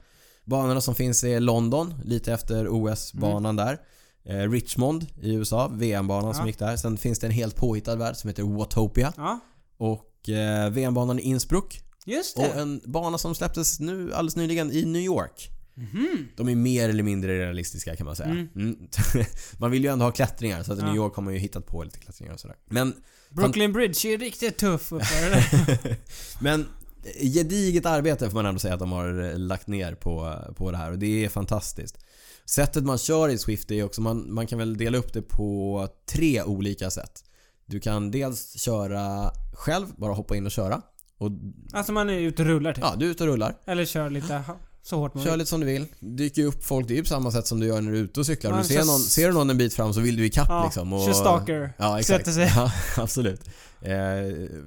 Speaker 1: Banorna som finns är London, lite efter OS-banan där. Eh, Richmond i USA, VM-banan som
Speaker 2: Mm. Ja.
Speaker 1: gick där. Sen finns det en helt påhittad värld som heter Watopia.
Speaker 2: Ja,
Speaker 1: Och eh, VM-banan i Innsbruck.
Speaker 2: just
Speaker 1: Och eh,
Speaker 2: det.
Speaker 1: en bana som släpptes nu alldeles nyligen i New York.
Speaker 2: Mhm.
Speaker 1: De är mer eller mindre realistiska kan man säga. Mm. man vill ju ändå ha klättringar så att i
Speaker 2: Ja.
Speaker 1: New York har man ju hittat på lite klättringar och sådär. Men
Speaker 2: Brooklyn Bridge är riktigt tuff uppe där.
Speaker 1: Men eh, gediget arbete får man ändå säga att de har eh, lagt ner på, eh, på det här och det är fantastiskt. Sättet man kör i Swift är också, man, man kan väl dela upp det på tre olika sätt. Du kan dels köra själv, bara hoppa in och köra. Och,
Speaker 2: Alltså man är ute och rullar typ.
Speaker 1: ja, du är ute och rullar.
Speaker 2: Eller kör lite ha- så hårt man
Speaker 1: Kör
Speaker 2: vill.
Speaker 1: lite som du vill. Dyker upp folk, det är ju på samma sätt som du gör när du är ute och cyklar. Om
Speaker 2: Man
Speaker 1: du ser
Speaker 2: kör-
Speaker 1: någon, ser du någon en bit fram så vill du ikapp
Speaker 2: Ja,
Speaker 1: liksom. Och,
Speaker 2: kör stalker.
Speaker 1: Ja, exakt.
Speaker 2: Sätter sig.
Speaker 1: Ja, absolut. Eh,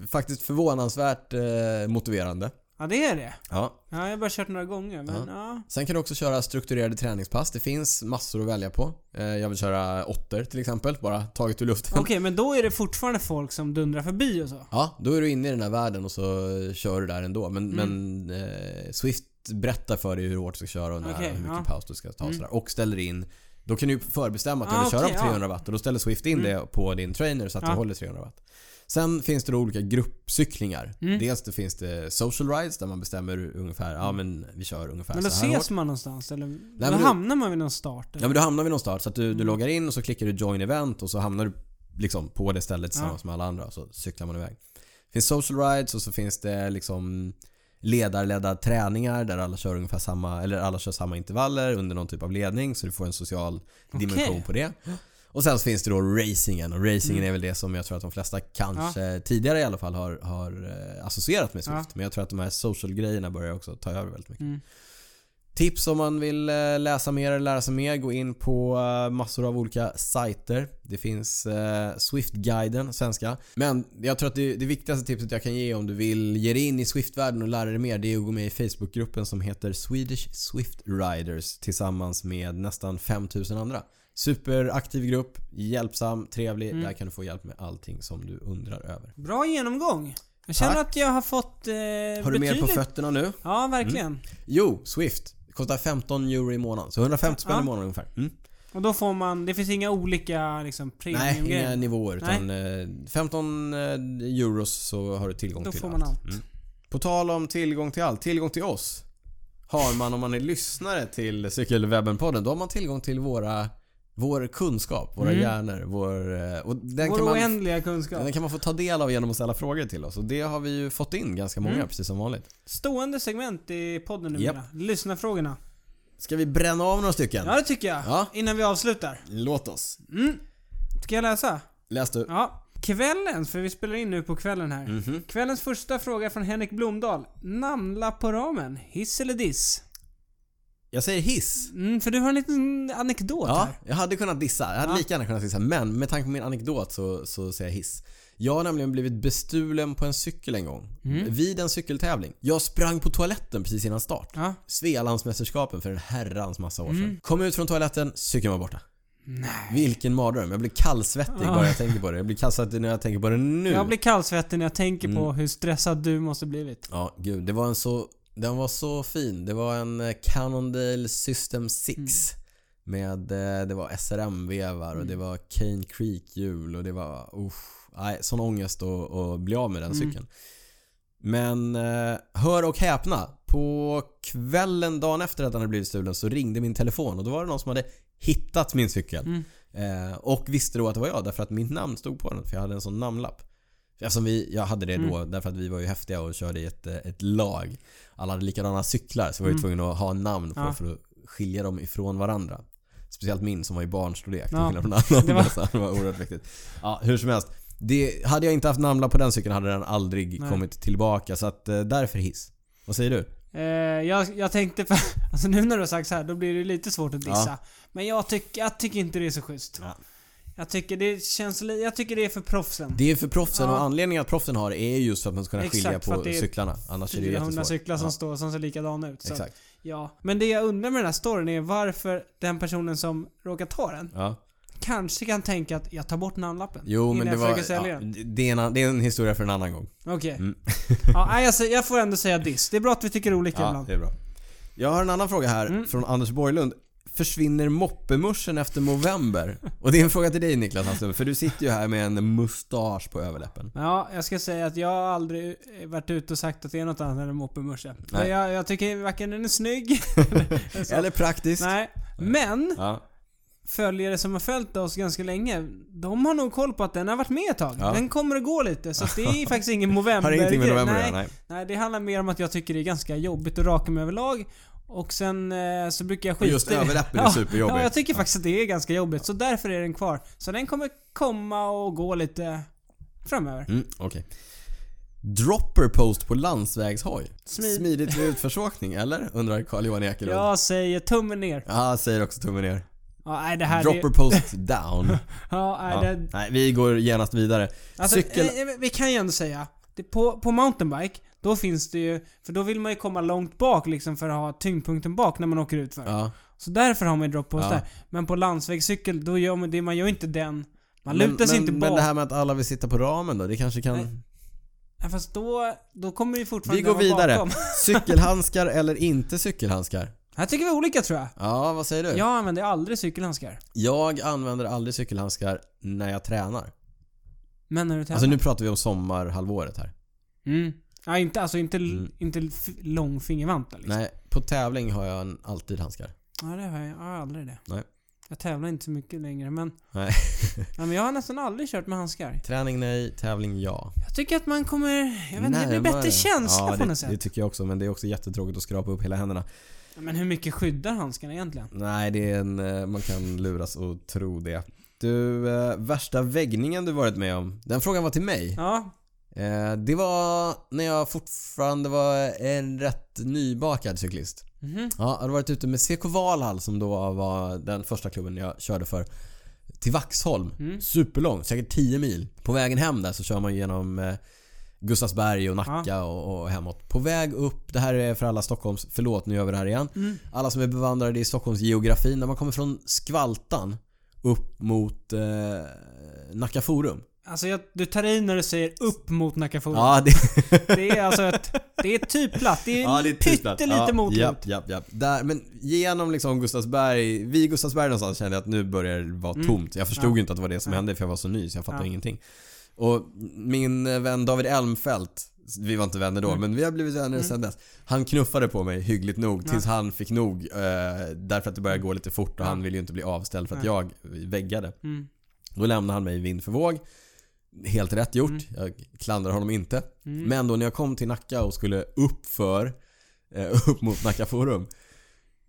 Speaker 1: faktiskt förvånansvärt eh, motiverande.
Speaker 2: Ja, det är det.
Speaker 1: Ja,
Speaker 2: Ja, jag har bara kört några gånger men ja.
Speaker 1: Sen kan du också köra strukturerade träningspass. Det finns massor att välja på. Eh, Jag vill köra åttor till exempel, bara taget ur luften.
Speaker 2: Okej, men då är det fortfarande folk som dundrar förbi och så.
Speaker 1: Ja, då är du inne i den här världen och så eh, kör du där ändå. Men,
Speaker 2: Mm.
Speaker 1: men eh, Swift berättar för dig hur hårt du ska köra och när
Speaker 2: Okej,
Speaker 1: och hur mycket
Speaker 2: ja. Mm.
Speaker 1: paus du ska ta och sådär. Och ställer in. Då kan du ju förbestämma att jag
Speaker 2: Ah,
Speaker 1: vill köra
Speaker 2: okej,
Speaker 1: på
Speaker 2: ja. Mm.
Speaker 1: 300 watt och då ställer Swift in det på din trainer så att
Speaker 2: Ja.
Speaker 1: du håller 300 watt. Sen finns det då olika gruppcyklingar.
Speaker 2: Mm.
Speaker 1: Dels det finns det social rides där man bestämmer ungefär, ja men vi kör ungefär
Speaker 2: Men då
Speaker 1: så Alltså, här hårt.
Speaker 2: ses man någonstans eller? då
Speaker 1: men du-
Speaker 2: hamnar man vid någon start?
Speaker 1: Ja
Speaker 2: Eller?
Speaker 1: men du hamnar vid någon start så att du, du
Speaker 2: Mm.
Speaker 1: loggar in och så klickar du join event och så hamnar du liksom på det stället tillsammans med alla andra och så cyklar man iväg. Det finns social rides och så finns det liksom ledarledda träningar där alla kör ungefär samma, eller alla kör samma intervaller under någon typ av ledning så du får en social dimension
Speaker 2: Okej.
Speaker 1: på det. Och sen så finns det då racingen och racingen
Speaker 2: Mm.
Speaker 1: är väl det som jag tror att de flesta kanske tidigare i alla fall har, har eh, associerat med Swift.
Speaker 2: Ja.
Speaker 1: Men jag tror att de här social grejerna börjar också ta över väldigt mycket.
Speaker 2: Mm.
Speaker 1: Tips om man vill eh, läsa mer eller lära sig mer, gå in på eh, massor av olika sajter. Det finns eh, Swift-guiden, svenska. Men jag tror att det, det viktigaste tipset jag kan ge om du vill ge dig in i Swift-världen och lära dig mer, det är att gå med i Facebookgruppen som heter Swedish Swift Riders tillsammans med nästan 5000 andra. Superaktiv grupp, hjälpsam, trevlig.
Speaker 2: Mm.
Speaker 1: Där kan du få hjälp med allting som du undrar över.
Speaker 2: Bra genomgång. Jag känner att jag har fått eh,
Speaker 1: Har du mer på
Speaker 2: betydligt-
Speaker 1: fötterna Mm. nu?
Speaker 2: Ja, verkligen.
Speaker 1: Jo, Swift. Det kostar 15 euro i månaden. Så 150 spänn
Speaker 2: Ja.
Speaker 1: i månaden ungefär. Mm.
Speaker 2: Och då får man, det finns inga olika liksom
Speaker 1: Nej,
Speaker 2: premiumgrejer.
Speaker 1: inga nivåer. Utan eh, 15 eh, euros så har du tillgång
Speaker 2: Då
Speaker 1: till
Speaker 2: får man allt.
Speaker 1: Mm. På tal om tillgång till allt. Tillgång till oss har man om man är lyssnare till Cykelwebben-podden. Då har man tillgång till våra, vår kunskap, våra
Speaker 2: Mm.
Speaker 1: hjärnor. Vår, eh, och den,
Speaker 2: Vår
Speaker 1: kan man,
Speaker 2: oändliga kunskap.
Speaker 1: den kan man få ta del av genom att ställa frågor till oss. Och det har vi ju fått in ganska många,
Speaker 2: Mm.
Speaker 1: precis som vanligt.
Speaker 2: Stående segment i podden numera. Lyssna frågorna.
Speaker 1: Ska vi bränna av några stycken?
Speaker 2: Ja, det tycker jag.
Speaker 1: Ja.
Speaker 2: Innan vi avslutar.
Speaker 1: Låt oss.
Speaker 2: Mm. Ska jag läsa?
Speaker 1: Läs du.
Speaker 2: Ja. Kvällens, för vi spelar in nu på kvällen här.
Speaker 1: Mhm.
Speaker 2: Kvällens första fråga från Henrik Blomdahl. Namla på ramen. Hiss eller diss?
Speaker 1: Jag säger hiss.
Speaker 2: Mm, för du har en liten anekdot
Speaker 1: Ja,
Speaker 2: här.
Speaker 1: jag hade kunnat dissa. Jag hade
Speaker 2: Ja.
Speaker 1: lika gärna kunnat dissa. Men med tanke på min anekdot så, så säger jag hiss. Jag har nämligen blivit bestulen på en cykel en gång.
Speaker 2: Mm.
Speaker 1: Vid en cykeltävling. Jag sprang på toaletten precis innan start.
Speaker 2: Ja. Mm.
Speaker 1: Svealandsmästerskapen för en herrans massa år sedan. Kom ut från toaletten, cykeln var borta. Vilken mardröm. Jag blir kallsvettig bara jag tänker på det. Jag blir kallsvettig när jag tänker på det nu.
Speaker 2: Jag blir kallsvettig när jag tänker på
Speaker 1: Mm.
Speaker 2: hur stressad du måste blivit.
Speaker 1: Ja, gud. Det var en så... Den var så fin. Det var en eh, Cannondale System 6. Med, eh, det var SRM-vevar och det var Cane Creek-hjul och det var... Usch, nej, sån ångest att, att bli av med den cykeln. Men eh, hör och häpna. På kvällen dagen efter att den hade blivit stulen så ringde min telefon och då var det någon som hade hittat min cykel.
Speaker 2: Mm.
Speaker 1: Eh, och visste då att det var jag därför att mitt namn stod på den för jag hade en sån namnlapp. Alltså vi, jag hade det
Speaker 2: Mm.
Speaker 1: då därför att vi var ju häftiga och körde i ett, eh, ett lag. Alla hade likadana cyklar så vi var ju tvungna att ha namn på
Speaker 2: Mm. Ja.
Speaker 1: för att skilja dem ifrån varandra. Speciellt min som var i barnstorlek till
Speaker 2: Ja.
Speaker 1: skillnad från alla
Speaker 2: Det
Speaker 1: andra.
Speaker 2: var-
Speaker 1: så Det var oerhört viktigt. Ja, hur som helst. Det, hade jag inte haft namnlapp på den cykeln hade den aldrig
Speaker 2: Nej.
Speaker 1: kommit tillbaka så att eh, därför hiss. Vad säger du?
Speaker 2: Eh, jag, jag tänkte för, alltså nu när du har sagt så här, då blir det lite svårt att dissa. Men jag, tyck, jag tycker inte det är så schysst.
Speaker 1: Ja.
Speaker 2: Jag tycker det känns li- jag tycker det är för proffsen.
Speaker 1: Det är för proffsen
Speaker 2: Ja.
Speaker 1: och anledningen att proffsen har det är just för att man ska kunna
Speaker 2: Exakt,
Speaker 1: skilja
Speaker 2: för att
Speaker 1: på
Speaker 2: det är
Speaker 1: cyklarna. Annars är det
Speaker 2: 400
Speaker 1: jättesvårt.
Speaker 2: cyklar som
Speaker 1: ja,
Speaker 2: står som ser likadana ut. Så att,
Speaker 1: Exakt.
Speaker 2: ja. Men det jag undrar med den här storyn är varför den personen som råkar ta den
Speaker 1: Ja.
Speaker 2: kanske kan tänka att jag tar bort namnlappen.
Speaker 1: Jo
Speaker 2: innan
Speaker 1: men det
Speaker 2: jag
Speaker 1: var...
Speaker 2: försöker sälja
Speaker 1: Ja, Mm.
Speaker 2: den.
Speaker 1: det, är en, an- det är en historia för en annan gång.
Speaker 2: Okej. ja, nej, alltså, jag får ändå säga diss. Det är bra att vi tycker olika
Speaker 1: Ja,
Speaker 2: ibland. Mm.
Speaker 1: det är bra. Jag har en annan fråga här från Anders Borglund. Försvinner moppemuschen efter november? Och det är en fråga till dig Niklas Hasslum, för du sitter ju här med en mustasch på överläppen.
Speaker 2: Ja, jag ska säga att jag har aldrig eh, varit ute och sagt att det är något annat än en moppemusche. För
Speaker 1: Nej.
Speaker 2: Jag, jag tycker varken den är snygg eller så.
Speaker 1: Eller praktiskt.
Speaker 2: Nej. Men
Speaker 1: Ja.
Speaker 2: följare som har följt oss ganska länge, de har nog koll på att den har varit med ett tag.
Speaker 1: Ja.
Speaker 2: Den kommer att gå lite, så att det är faktiskt ingen november
Speaker 1: Har ingenting med november att
Speaker 2: nej,
Speaker 1: göra, nej.
Speaker 2: nej, det handlar mer om att jag tycker det är ganska jobbigt att raka mig överlag. Och sen eh, så brukar jag skita
Speaker 1: just
Speaker 2: i det.
Speaker 1: överläppen är
Speaker 2: ja,
Speaker 1: superjobbigt.
Speaker 2: Ja, jag tycker faktiskt att det är ganska jobbigt. Så därför är den kvar. Så den kommer komma och gå lite framöver.
Speaker 1: Mm, okej. Dropper post på landsvägshoj.
Speaker 2: Smid-
Speaker 1: Smidigt vid utförsåkning, eller? Undrar Carl-Johan Ekelund. Ja.
Speaker 2: Jag säger tummen ner.
Speaker 1: säger också tummen ner.
Speaker 2: Ja, nej, det här
Speaker 1: Dropper
Speaker 2: är...
Speaker 1: post down.
Speaker 2: Ja, nej,
Speaker 1: Ja.
Speaker 2: det,
Speaker 1: Nej, vi går genast vidare.
Speaker 2: alltså,
Speaker 1: Cykel...
Speaker 2: eh, eh, Vi kan ju ändå säga, det, på, på mountainbike, då finns det ju... För då vill man ju komma långt bak liksom för att ha tyngdpunkten bak när man åker ut för.
Speaker 1: Ja.
Speaker 2: Så därför har man ju drop post
Speaker 1: Ja.
Speaker 2: där. Men på landsvägscykel, då gör man det, man gör inte den... Man
Speaker 1: Men-
Speaker 2: lutar sig
Speaker 1: men,
Speaker 2: inte bak.
Speaker 1: Men det här med att alla vill sitta på ramen då, det kanske kan...
Speaker 2: Nej. Ja, fast då, då kommer vi fortfarande
Speaker 1: Vi går
Speaker 2: vara
Speaker 1: vidare.
Speaker 2: bakom.
Speaker 1: Cykelhandskar eller inte cykelhandskar?
Speaker 2: Här tycker vi olika tror jag.
Speaker 1: Ja, vad säger du?
Speaker 2: Jag använder aldrig cykelhandskar.
Speaker 1: Jag använder aldrig cykelhandskar när jag tränar.
Speaker 2: Men när du tävlar?
Speaker 1: Alltså nu pratar vi om sommarhalvåret här.
Speaker 2: Mm. Ja, inte, alltså inte,
Speaker 1: Mm.
Speaker 2: inte f- långfingervantar liksom.
Speaker 1: Nej, på tävling har jag en, alltid handskar.
Speaker 2: Ja, det har jag, jag har aldrig det.
Speaker 1: Nej.
Speaker 2: Jag tävlar inte så mycket längre men...
Speaker 1: Nej.
Speaker 2: Ja, men jag har nästan aldrig kört med handskar.
Speaker 1: Träning nej, tävling ja.
Speaker 2: Jag tycker att man kommer... Jag vet inte, det blir
Speaker 1: Närmare.
Speaker 2: bättre känsla
Speaker 1: ja,
Speaker 2: på
Speaker 1: det,
Speaker 2: något
Speaker 1: det
Speaker 2: sätt.
Speaker 1: tycker jag också. Men det är också jättetråkigt att skrapa upp hela händerna.
Speaker 2: Men hur mycket skyddar handskarna egentligen?
Speaker 1: Nej, det är en, eh, man kan luras och tro det. Du, eh, värsta väggningen du varit med om? Den frågan var till mig.
Speaker 2: Ja,
Speaker 1: Eh, det var när jag fortfarande var en rätt nybakad cyklist.
Speaker 2: mhm.
Speaker 1: Ja, jag hade varit ute med CK Valhall som då var den första klubben jag körde för. Till Vaxholm.
Speaker 2: Mm.
Speaker 1: Superlång, säkert 10 mil. På vägen hem där så kör man genom eh, Gustavsberg och Nacka och, och hemåt. På väg upp, det här är för alla Stockholms, förlåt nu gör vi det här igen.
Speaker 2: Mm.
Speaker 1: Alla som är bevandrade i Stockholms geografi. När man kommer från Skvaltan upp mot eh, Nacka Forum.
Speaker 2: Alltså jag, du tar i när du säger upp mot Nacka Forum.
Speaker 1: Ja, det,
Speaker 2: Det är alltså ett... Det är typ platt. Det är, pyttelite
Speaker 1: ja,
Speaker 2: motlot.
Speaker 1: Japp, japp, japp. Där, men genom liksom Gustavsberg, vid Gustavsberg någonstans kände jag att nu börjar det vara tomt. Jag förstod
Speaker 2: Mm. Ja.
Speaker 1: ju inte att det var det som
Speaker 2: Nej.
Speaker 1: hände för jag var så ny så jag fattade
Speaker 2: Ja.
Speaker 1: ingenting. Och min eh, vän David Elmfelt, vi var inte vänner
Speaker 2: Mm.
Speaker 1: då men vi har blivit vänner sedan dess. Han knuffade på mig hyggligt nog tills han fick nog eh, därför att det började gå lite fort och
Speaker 2: Ja.
Speaker 1: han ville ju inte bli avställd för att
Speaker 2: Nej.
Speaker 1: jag väggade.
Speaker 2: Mm.
Speaker 1: Då lämnade han mig vind för våg. Helt rätt gjort. Jag klandrar honom inte.
Speaker 2: Mm.
Speaker 1: Men då när jag kom till Nacka och skulle upp för, eh, upp mot Nacka Forum.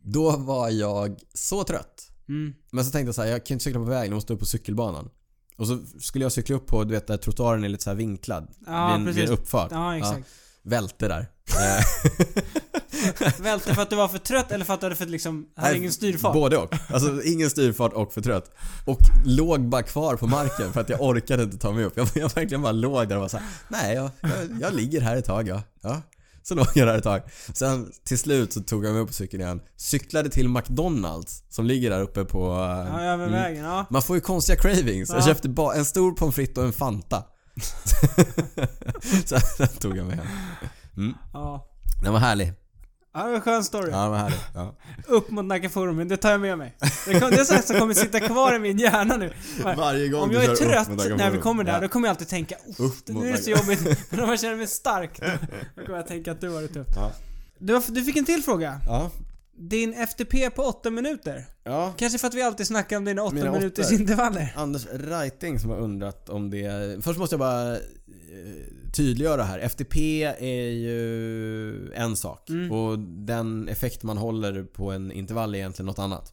Speaker 1: Då var jag så trött.
Speaker 2: Mm.
Speaker 1: Men så tänkte jag så här, jag kan inte cykla på vägen, jag måste upp på cykelbanan. Och så skulle jag cykla upp på, du vet där trottoaren är lite så här vinklad.
Speaker 2: Ja,
Speaker 1: vid, en, vid en
Speaker 2: precis.
Speaker 1: uppfart.
Speaker 2: Ja, exakt.
Speaker 1: Välte där.
Speaker 2: Välte för att du var för trött eller för att du hade för liksom... Hade
Speaker 1: Nej,
Speaker 2: ingen styrfart?
Speaker 1: Både och. Alltså ingen styrfart och för trött. Och låg bara kvar på marken för att jag orkade inte ta mig upp. Jag, jag verkligen bara låg där och var såhär, nej jag, jag, jag ligger här ett tag ja. ja. Så låg jag där ett tag. Sen till slut så tog jag mig upp på cykeln igen. Cyklade till McDonalds som ligger där uppe på... eh,
Speaker 2: Ja, över
Speaker 1: mm.
Speaker 2: vägen. Ja.
Speaker 1: Man får ju konstiga cravings. Jag
Speaker 2: Ja.
Speaker 1: köpte ba- en stor pommes frites och en Fanta. Sen sen tog jag mig hem.
Speaker 2: Ja.
Speaker 1: Den var härlig.
Speaker 2: Ja, det var en skön story.
Speaker 1: Ja, den var härlig. Ja.
Speaker 2: Upp mot Nacka Forum, men det tar jag med mig. Det, kom, det är sånt som kommer sitta kvar i min hjärna nu.
Speaker 1: Varje gång
Speaker 2: Om
Speaker 1: du
Speaker 2: jag
Speaker 1: kör
Speaker 2: är
Speaker 1: upp mot Nacka
Speaker 2: trött när vi
Speaker 1: Forum.
Speaker 2: kommer där,
Speaker 1: Ja.
Speaker 2: då kommer jag alltid tänka "Uff,
Speaker 1: Upp mot
Speaker 2: nu är det så
Speaker 1: Nacka."
Speaker 2: jobbigt. Men om jag känner mig stark, då kommer jag tänka att du har det tufft.
Speaker 1: Ja.
Speaker 2: Du, har- du fick en till fråga.
Speaker 1: Ja.
Speaker 2: Din FTP på 8 minuter.
Speaker 1: Ja.
Speaker 2: Kanske för att vi alltid snackar om dina 8
Speaker 1: Mina
Speaker 2: minuters
Speaker 1: åttor.
Speaker 2: intervaller.
Speaker 1: Anders Reiting som har undrat om det... Först måste jag bara eh, tydliggöra här. FTP är ju en sak
Speaker 2: Mm.
Speaker 1: och den effekt man håller på en intervall är egentligen något annat.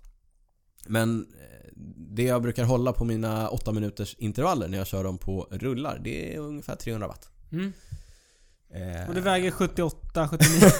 Speaker 1: Men eh, det jag brukar hålla på mina 8 minuters intervaller när jag kör dem på rullar, det är ungefär 300 watt.
Speaker 2: Mm.
Speaker 1: Eh,
Speaker 2: Och du väger 78,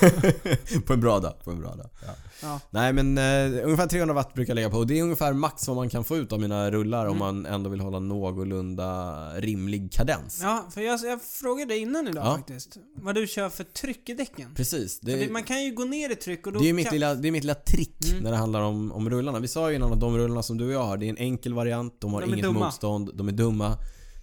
Speaker 2: 79.
Speaker 1: på en bra dag. På en bra dag. Ja.
Speaker 2: Ja.
Speaker 1: Nej men eh, ungefär 300 watt brukar jag lägga på och det är ungefär max vad man kan få ut av mina rullar om
Speaker 2: Mm.
Speaker 1: man ändå vill hålla någorlunda rimlig kadens.
Speaker 2: Ja, för jag, jag frågade dig innan idag
Speaker 1: Ja.
Speaker 2: faktiskt. Vad du kör för tryck i däcken.
Speaker 1: Precis. Det,
Speaker 2: För det- Man kan ju gå ner i tryck och då
Speaker 1: det är ju mitt
Speaker 2: kan-
Speaker 1: lilla, det är mitt lilla trick
Speaker 2: Mm.
Speaker 1: när det handlar om, om rullarna. Vi sa ju innan att de rullarna som du och jag har, det är en enkel variant, de har
Speaker 2: De är
Speaker 1: inget
Speaker 2: dumma.
Speaker 1: motstånd, de är dumma.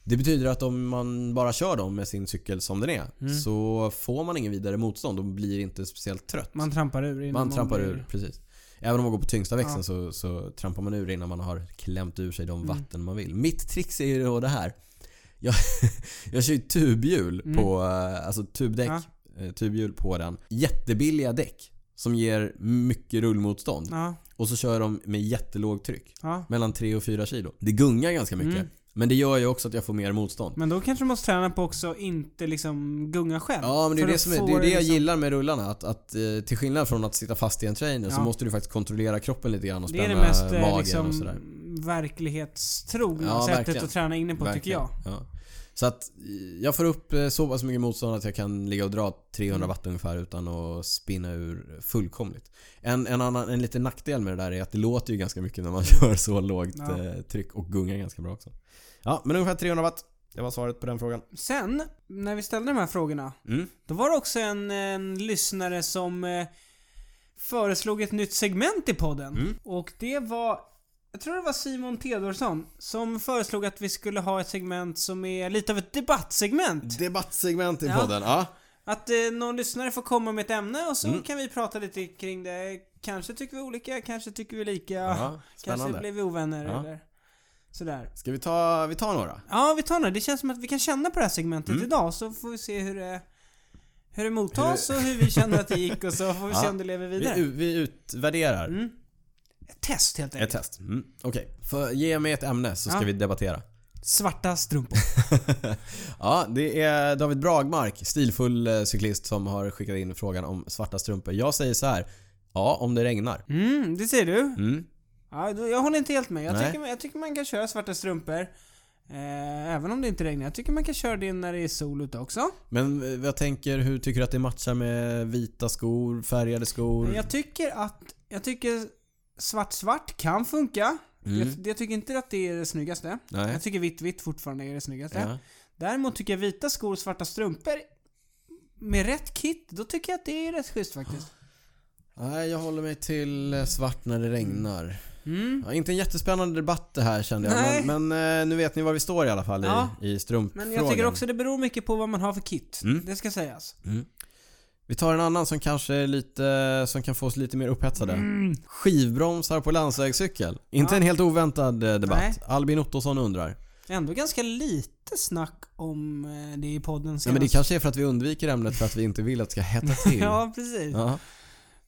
Speaker 1: Det betyder att om man bara kör dem med sin cykel som den är
Speaker 2: Mm.
Speaker 1: så får man ingen vidare motstånd och blir inte speciellt trött.
Speaker 2: Man trampar ur innan
Speaker 1: Man trampar
Speaker 2: blir-
Speaker 1: ur, precis. Även om man går på tyngsta växeln
Speaker 2: Ja.
Speaker 1: så, så trampar man ur innan man har klämt ur sig de
Speaker 2: Mm.
Speaker 1: vatten man vill. Mitt trix är ju då det här. Jag, jag kör ju tubhjul
Speaker 2: Mm.
Speaker 1: på, eh, alltså tubdäck,
Speaker 2: Ja.
Speaker 1: eh, tubhjul på den. Jättebilliga däck som ger mycket rullmotstånd.
Speaker 2: Ja,
Speaker 1: Och så kör jag dem med jättelågt tryck.
Speaker 2: ja.
Speaker 1: Mellan 3 och 4 kilo. Det gungar ganska mycket.
Speaker 2: Mm.
Speaker 1: Men det gör ju också att jag får mer motstånd.
Speaker 2: Men då kanske du måste träna på också inte liksom gunga själv.
Speaker 1: Ja men det är
Speaker 2: För
Speaker 1: det,
Speaker 2: då
Speaker 1: som är, det, är
Speaker 2: får
Speaker 1: ju det jag
Speaker 2: liksom-
Speaker 1: gillar med rullarna. Att, att, eh, till skillnad från att sitta fast i en trainer så
Speaker 2: Ja.
Speaker 1: måste du faktiskt kontrollera kroppen lite grann och
Speaker 2: Det är
Speaker 1: spänna
Speaker 2: det mest eh,
Speaker 1: magen och
Speaker 2: liksom,
Speaker 1: sådär.
Speaker 2: verklighetstrogna
Speaker 1: Ja,
Speaker 2: sättet
Speaker 1: verkligen.
Speaker 2: att träna inne på tycker
Speaker 1: Verkligen.
Speaker 2: jag.
Speaker 1: Ja. Så att eh, jag får upp eh, så pass mycket motstånd att jag kan ligga och dra 300
Speaker 2: Mm.
Speaker 1: watt ungefär utan att spinna ur fullkomligt. En, en, annan, en liten nackdel med det där är att det låter ju ganska mycket när man kör så lågt
Speaker 2: Ja.
Speaker 1: eh, tryck och gungar ganska bra också. Ja men ungefär 300 watt. Det var svaret på den frågan.
Speaker 2: Sen, när vi ställde de här frågorna,
Speaker 1: Mm.
Speaker 2: då var det också en, en lyssnare som eh, föreslog ett nytt segment i podden.
Speaker 1: Mm.
Speaker 2: Och det var, jag tror det var Simon Theodorsson, som föreslog att vi skulle ha ett segment som är lite av ett debattsegment.
Speaker 1: Debattsegment i
Speaker 2: Ja.
Speaker 1: podden. Ja.
Speaker 2: Att eh, någon lyssnare får komma med ett ämne och så
Speaker 1: Mm.
Speaker 2: kan vi prata lite kring det. Kanske tycker vi olika, kanske tycker vi lika.
Speaker 1: Ja,
Speaker 2: kanske
Speaker 1: spännande.
Speaker 2: blir vi ovänner
Speaker 1: Ja.
Speaker 2: eller Sådär.
Speaker 1: Ska vi ta, vi tar några?
Speaker 2: Ja, vi tar några. Det känns som att vi kan känna på det här segmentet
Speaker 1: Mm.
Speaker 2: idag, så får vi se hur det, hur det mottas och hur vi känner att det gick och så får vi se
Speaker 1: Ja.
Speaker 2: om det lever vidare.
Speaker 1: Vi, u- vi utvärderar
Speaker 2: Mm. Ett test helt
Speaker 1: ett
Speaker 2: enkelt.
Speaker 1: test. Mm. Okej, För- ge mig ett ämne så ska
Speaker 2: Ja.
Speaker 1: vi debattera.
Speaker 2: Svarta strumpor.
Speaker 1: Ja, det är David Bragmark, stilfull eh, cyklist som har skickat in frågan om svarta strumpor. Jag säger så här. Ja, om det regnar.
Speaker 2: Mm, det ser du.
Speaker 1: Mm.
Speaker 2: Ja, då- jag håller inte helt med. Jag
Speaker 1: Nej.
Speaker 2: tycker, jag tycker man kan köra svarta strumpor. Eh, även om det inte regnar. Jag tycker man kan köra det när det är sol ute också.
Speaker 1: Men eh, jag tänker, hur tycker du att det matchar med vita skor, färgade skor?
Speaker 2: Men jag tycker att... Jag tycker svart-svart kan funka.
Speaker 1: Mm.
Speaker 2: Jag, jag tycker inte att det är det snyggaste.
Speaker 1: Nej.
Speaker 2: Jag tycker vitt-vitt fortfarande är det snyggaste.
Speaker 1: Ja.
Speaker 2: Däremot tycker jag vita skor och svarta strumpor med rätt kit, då tycker jag att det är rätt schysst faktiskt.
Speaker 1: Nej, jag håller mig till eh, svart när det regnar.
Speaker 2: Mm.
Speaker 1: Ja, inte en jättespännande debatt det här kände
Speaker 2: Nej.
Speaker 1: jag. Men, men eh, nu vet ni var vi står i alla fall
Speaker 2: Ja.
Speaker 1: i, i strumpfrågan.
Speaker 2: Men jag tycker också det beror mycket på vad man har för kit.
Speaker 1: Mm.
Speaker 2: Det ska sägas.
Speaker 1: Mm. Vi tar en annan som kanske är lite, som kan få oss lite mer upphetsade. Skivbromsar på landsvägscykel. Inte
Speaker 2: Mm. Ja.
Speaker 1: en helt oväntad eh, debatt.
Speaker 2: Nej.
Speaker 1: Albin Ottosson undrar.
Speaker 2: Ändå ganska lite snack om eh, det i podden senast.
Speaker 1: Nej, men det kanske är för att vi undviker ämnet för att vi inte vill att det ska hetta till.
Speaker 2: Ja, precis. Ja.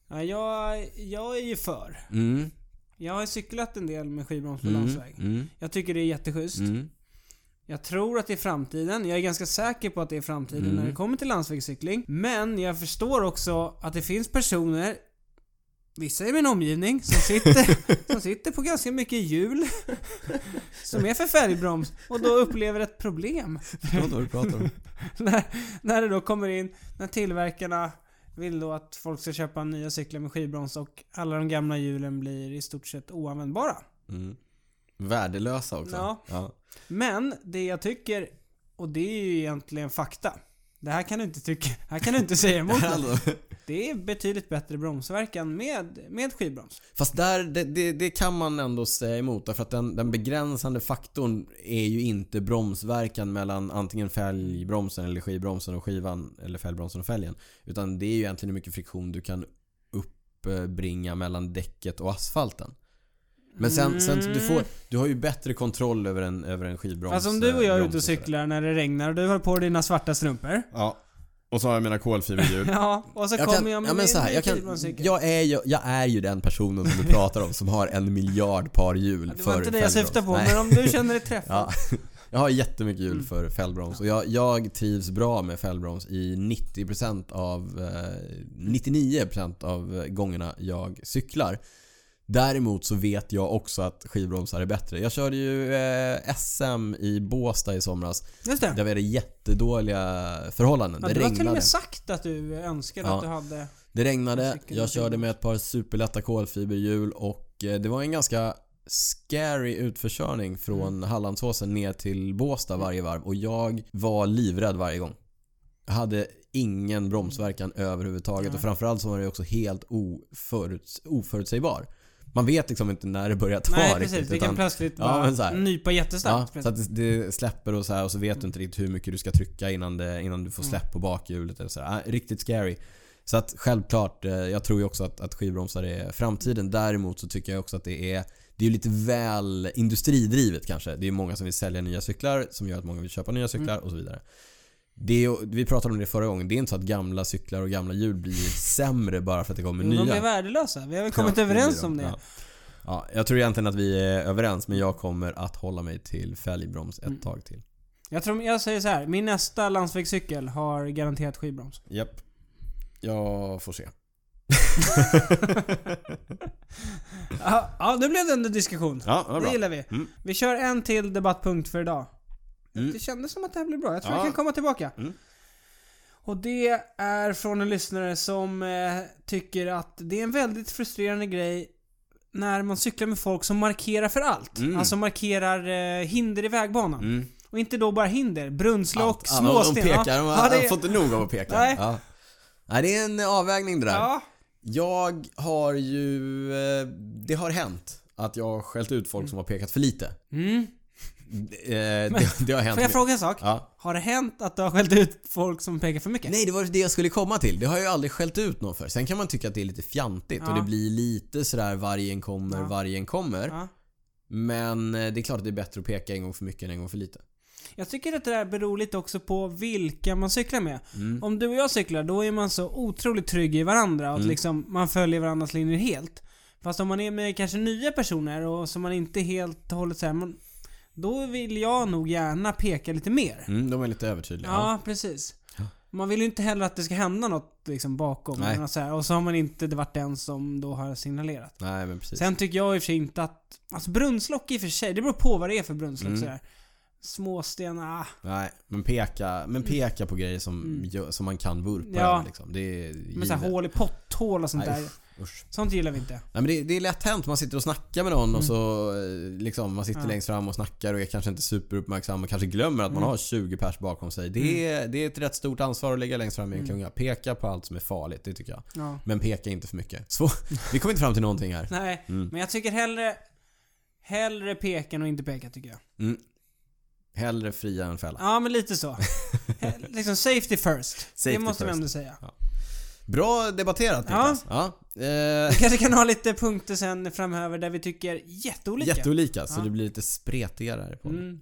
Speaker 1: Ja.
Speaker 2: jag, jag är ju för.
Speaker 1: Mm.
Speaker 2: Jag har ju cyklat en del med skivbroms på
Speaker 1: Mm.
Speaker 2: landsväg.
Speaker 1: Mm.
Speaker 2: Jag tycker det är jätteschysst.
Speaker 1: Mm.
Speaker 2: Jag tror att det är framtiden. Jag är ganska säker på att det är framtiden
Speaker 1: Mm.
Speaker 2: när det kommer till landsvägscykling. Men jag förstår också att det finns personer, vissa i min omgivning, som sitter, som sitter på ganska mycket hjul. som är för färgbroms och då upplever ett problem.
Speaker 1: Förstår vad du pratar om.
Speaker 2: när, när det då kommer in, när tillverkarna vill då att folk ska köpa nya cyklar med skivbroms och alla de gamla hjulen blir i stort sett oanvändbara.
Speaker 1: Mm. Värdelösa också.
Speaker 2: Ja.
Speaker 1: Ja.
Speaker 2: Men det jag tycker, och det är ju egentligen fakta. Det här kan du inte tycka, här kan du inte säga emot mig.
Speaker 1: Alltså,
Speaker 2: Det är betydligt bättre bromsverkan med, med skivbroms.
Speaker 1: Fast där, det, det, det kan man ändå säga emot därför att den, den begränsande faktorn är ju inte bromsverkan mellan antingen fälgbromsen eller skivbromsen och skivan eller fälgbromsen och fälgen. Utan det är ju egentligen hur mycket friktion du kan uppbringa mellan däcket och asfalten. Men sen, sen du får, du har ju bättre kontroll över en, över en skivbroms.
Speaker 2: Fast Alltså, om du och jag
Speaker 1: broms
Speaker 2: är
Speaker 1: eh,
Speaker 2: ute och
Speaker 1: sådär.
Speaker 2: cyklar när det regnar och du har på dig dina svarta strumpor.
Speaker 1: Ja. Och så har jag mina kolfiberhjul.
Speaker 2: Ja, och så
Speaker 1: Jag
Speaker 2: kommer
Speaker 1: kan,
Speaker 2: jag med
Speaker 1: ja, men
Speaker 2: min
Speaker 1: så här, jag, kan,
Speaker 2: skivbromscykel.
Speaker 1: jag, är ju, jag är ju den personen som du pratar om som har en miljard par hjul
Speaker 2: det
Speaker 1: för
Speaker 2: var inte det jag
Speaker 1: fällbroms.
Speaker 2: syftade på,
Speaker 1: Nej.
Speaker 2: men Mm. om du känner dig träffad.
Speaker 1: Ja. Jag har jättemycket hjul för fällbroms och jag, jag trivs bra med fällbroms i 90% av eh, 99% av eh, gångerna jag cyklar. Däremot så vet jag också att skivbromsar är bättre. Jag körde ju eh, SM i Båstad i somras.
Speaker 2: Just det.
Speaker 1: Där var det jättedåliga förhållanden.
Speaker 2: Ja,
Speaker 1: det
Speaker 2: du har till och
Speaker 1: regnade.
Speaker 2: med sagt att du önskade
Speaker 1: Ja.
Speaker 2: att du hade...
Speaker 1: Det regnade,
Speaker 2: Cykeln
Speaker 1: jag
Speaker 2: och
Speaker 1: körde
Speaker 2: cykeln.
Speaker 1: med ett par superlätta kolfiberhjul och eh, det var en ganska scary utförskörning från
Speaker 2: Mm.
Speaker 1: Hallandsåsen ner till Båstad varje varv och jag var livrädd varje gång. Jag hade ingen bromsverkan överhuvudtaget
Speaker 2: Mm. Nej.
Speaker 1: och framförallt så var det också helt oföruts- oförutsägbar. Man vet liksom inte när det börjar ta
Speaker 2: Nej
Speaker 1: riktigt.
Speaker 2: precis, det
Speaker 1: utan-
Speaker 2: kan plötsligt
Speaker 1: Ja,
Speaker 2: bara
Speaker 1: men så här.
Speaker 2: nypa
Speaker 1: Ja,
Speaker 2: jättestarkt.
Speaker 1: så att det det släpper och så här och så vet du inte riktigt hur mycket du ska trycka innan, det, innan du
Speaker 2: Mm.
Speaker 1: får släpp på bakhjulet eller så här. Ah, Riktigt scary. Så att självklart, eh, jag tror ju också att, att skivbromsar är framtiden. Däremot så tycker jag också att det är det är ju lite väl industridrivet kanske. Det är många som vill sälja nya cyklar som gör att många vill köpa
Speaker 2: Mm.
Speaker 1: nya cyklar och så vidare. Det är, ju- vi pratade om det förra gången. Det är inte så att gamla cyklar och gamla hjul blir sämre bara för att det kommer
Speaker 2: Jo,
Speaker 1: nya.
Speaker 2: de är värdelösa. Vi har väl
Speaker 1: Ja,
Speaker 2: kommit
Speaker 1: det blir
Speaker 2: överens
Speaker 1: de.
Speaker 2: om det.
Speaker 1: Ja. Ja, jag tror egentligen att vi är överens men jag kommer att hålla mig till fälgbroms
Speaker 2: Mm.
Speaker 1: ett tag till.
Speaker 2: Jag tror, jag säger så här. min nästa landsvägscykel har garanterat skivbroms.
Speaker 1: Japp. Jag får se.
Speaker 2: Ja, ja, nu blev det ändå diskussion.
Speaker 1: Ja, vad
Speaker 2: Det
Speaker 1: bra.
Speaker 2: gillar vi.
Speaker 1: Mm.
Speaker 2: Vi kör en till debattpunkt för idag.
Speaker 1: Mm.
Speaker 2: Det kändes som att det här blev bra. Jag tror
Speaker 1: Ja.
Speaker 2: jag kan komma tillbaka.
Speaker 1: Mm.
Speaker 2: Och det är från en lyssnare som eh, tycker att det är en väldigt frustrerande grej när man cyklar med folk som markerar för allt.
Speaker 1: Mm.
Speaker 2: Alltså markerar eh, hinder i vägbanan.
Speaker 1: Mm.
Speaker 2: Och inte då bara hinder, brunnslock,
Speaker 1: Ja, de- de
Speaker 2: småsten.
Speaker 1: pekar. De har,
Speaker 2: ja, det,
Speaker 1: har fått nog av att peka.
Speaker 2: Nej.
Speaker 1: Ja. Nej, det är en avvägning det där.
Speaker 2: ja,
Speaker 1: Jag har ju... eh, Det har hänt att jag har skällt ut folk som har pekat för lite.
Speaker 2: Mm.
Speaker 1: Eh, Det, det har hänt.
Speaker 2: Får
Speaker 1: mig.
Speaker 2: jag fråga en sak?
Speaker 1: Ja.
Speaker 2: Har det hänt att du har skällt ut folk som pekar för mycket?
Speaker 1: Nej, det var det jag skulle komma till. Det har jag ju aldrig skällt ut någon för. Sen kan man tycka att det är lite fjantigt och
Speaker 2: Ja.
Speaker 1: det blir lite sådär vargen kommer,
Speaker 2: Ja.
Speaker 1: vargen kommer.
Speaker 2: Ja.
Speaker 1: Men eh, det är klart att det är bättre att peka en gång för mycket än en gång för lite.
Speaker 2: Jag tycker att det där beror lite också på vilka man cyklar med.
Speaker 1: Mm.
Speaker 2: Om du och jag cyklar, då är man så otroligt trygg i varandra och att
Speaker 1: Mm.
Speaker 2: liksom, man följer varandras linjer helt. Fast om man är med kanske nya personer och som man inte helt och hållet såhär, man- då vill jag nog gärna peka lite mer.
Speaker 1: Mm, de är lite övertydliga.
Speaker 2: Ja, precis.
Speaker 1: Ja.
Speaker 2: Man vill ju inte heller att det ska hända något liksom bakom.
Speaker 1: Nej.
Speaker 2: Och, så här, och så har man inte varit den som då har signalerat.
Speaker 1: Nej, men precis.
Speaker 2: Sen tycker jag i och för sig inte att... Alltså brunnslock i och för sig, det beror på vad det är för brunnslock
Speaker 1: Mm.
Speaker 2: sådär. Småstenar, ah.
Speaker 1: Nej, men peka, men peka på grejer som,
Speaker 2: Mm.
Speaker 1: gör- som man kan vurpa
Speaker 2: Ja.
Speaker 1: över liksom. Det är
Speaker 2: Men såhär hål i potthål och sånt
Speaker 1: Nej,
Speaker 2: där.
Speaker 1: usch, usch.
Speaker 2: Sånt gillar vi inte.
Speaker 1: Nej, men det, det är lätt hänt. Man sitter och snackar med någon och så eh, liksom, man sitter
Speaker 2: Mm. Ja.
Speaker 1: längst fram och snackar och är kanske inte superuppmärksam och kanske glömmer att
Speaker 2: Mm.
Speaker 1: man har 20 pers bakom sig. Det är, det är ett rätt stort ansvar att ligga längst fram i
Speaker 2: Mm.
Speaker 1: en klunga. Peka på allt som är farligt, det tycker jag.
Speaker 2: Ja.
Speaker 1: Men peka inte för mycket. Så, vi kommer inte fram till någonting här.
Speaker 2: Nej,
Speaker 1: Mm.
Speaker 2: men jag tycker hellre... Hellre peka än att inte peka tycker jag.
Speaker 1: Mm. Hellre fria än fälla.
Speaker 2: Ja, men lite så. He- liksom safety first.
Speaker 1: Safety
Speaker 2: det måste
Speaker 1: first.
Speaker 2: man ändå säga.
Speaker 1: Bra debatterat
Speaker 2: Ja.
Speaker 1: Niklas. Ja. Eh,
Speaker 2: Vi kanske kan ha lite punkter sen framöver där vi tycker jätteolika.
Speaker 1: jätteolika, så
Speaker 2: Ja.
Speaker 1: det blir lite spretigare här på
Speaker 2: Mm.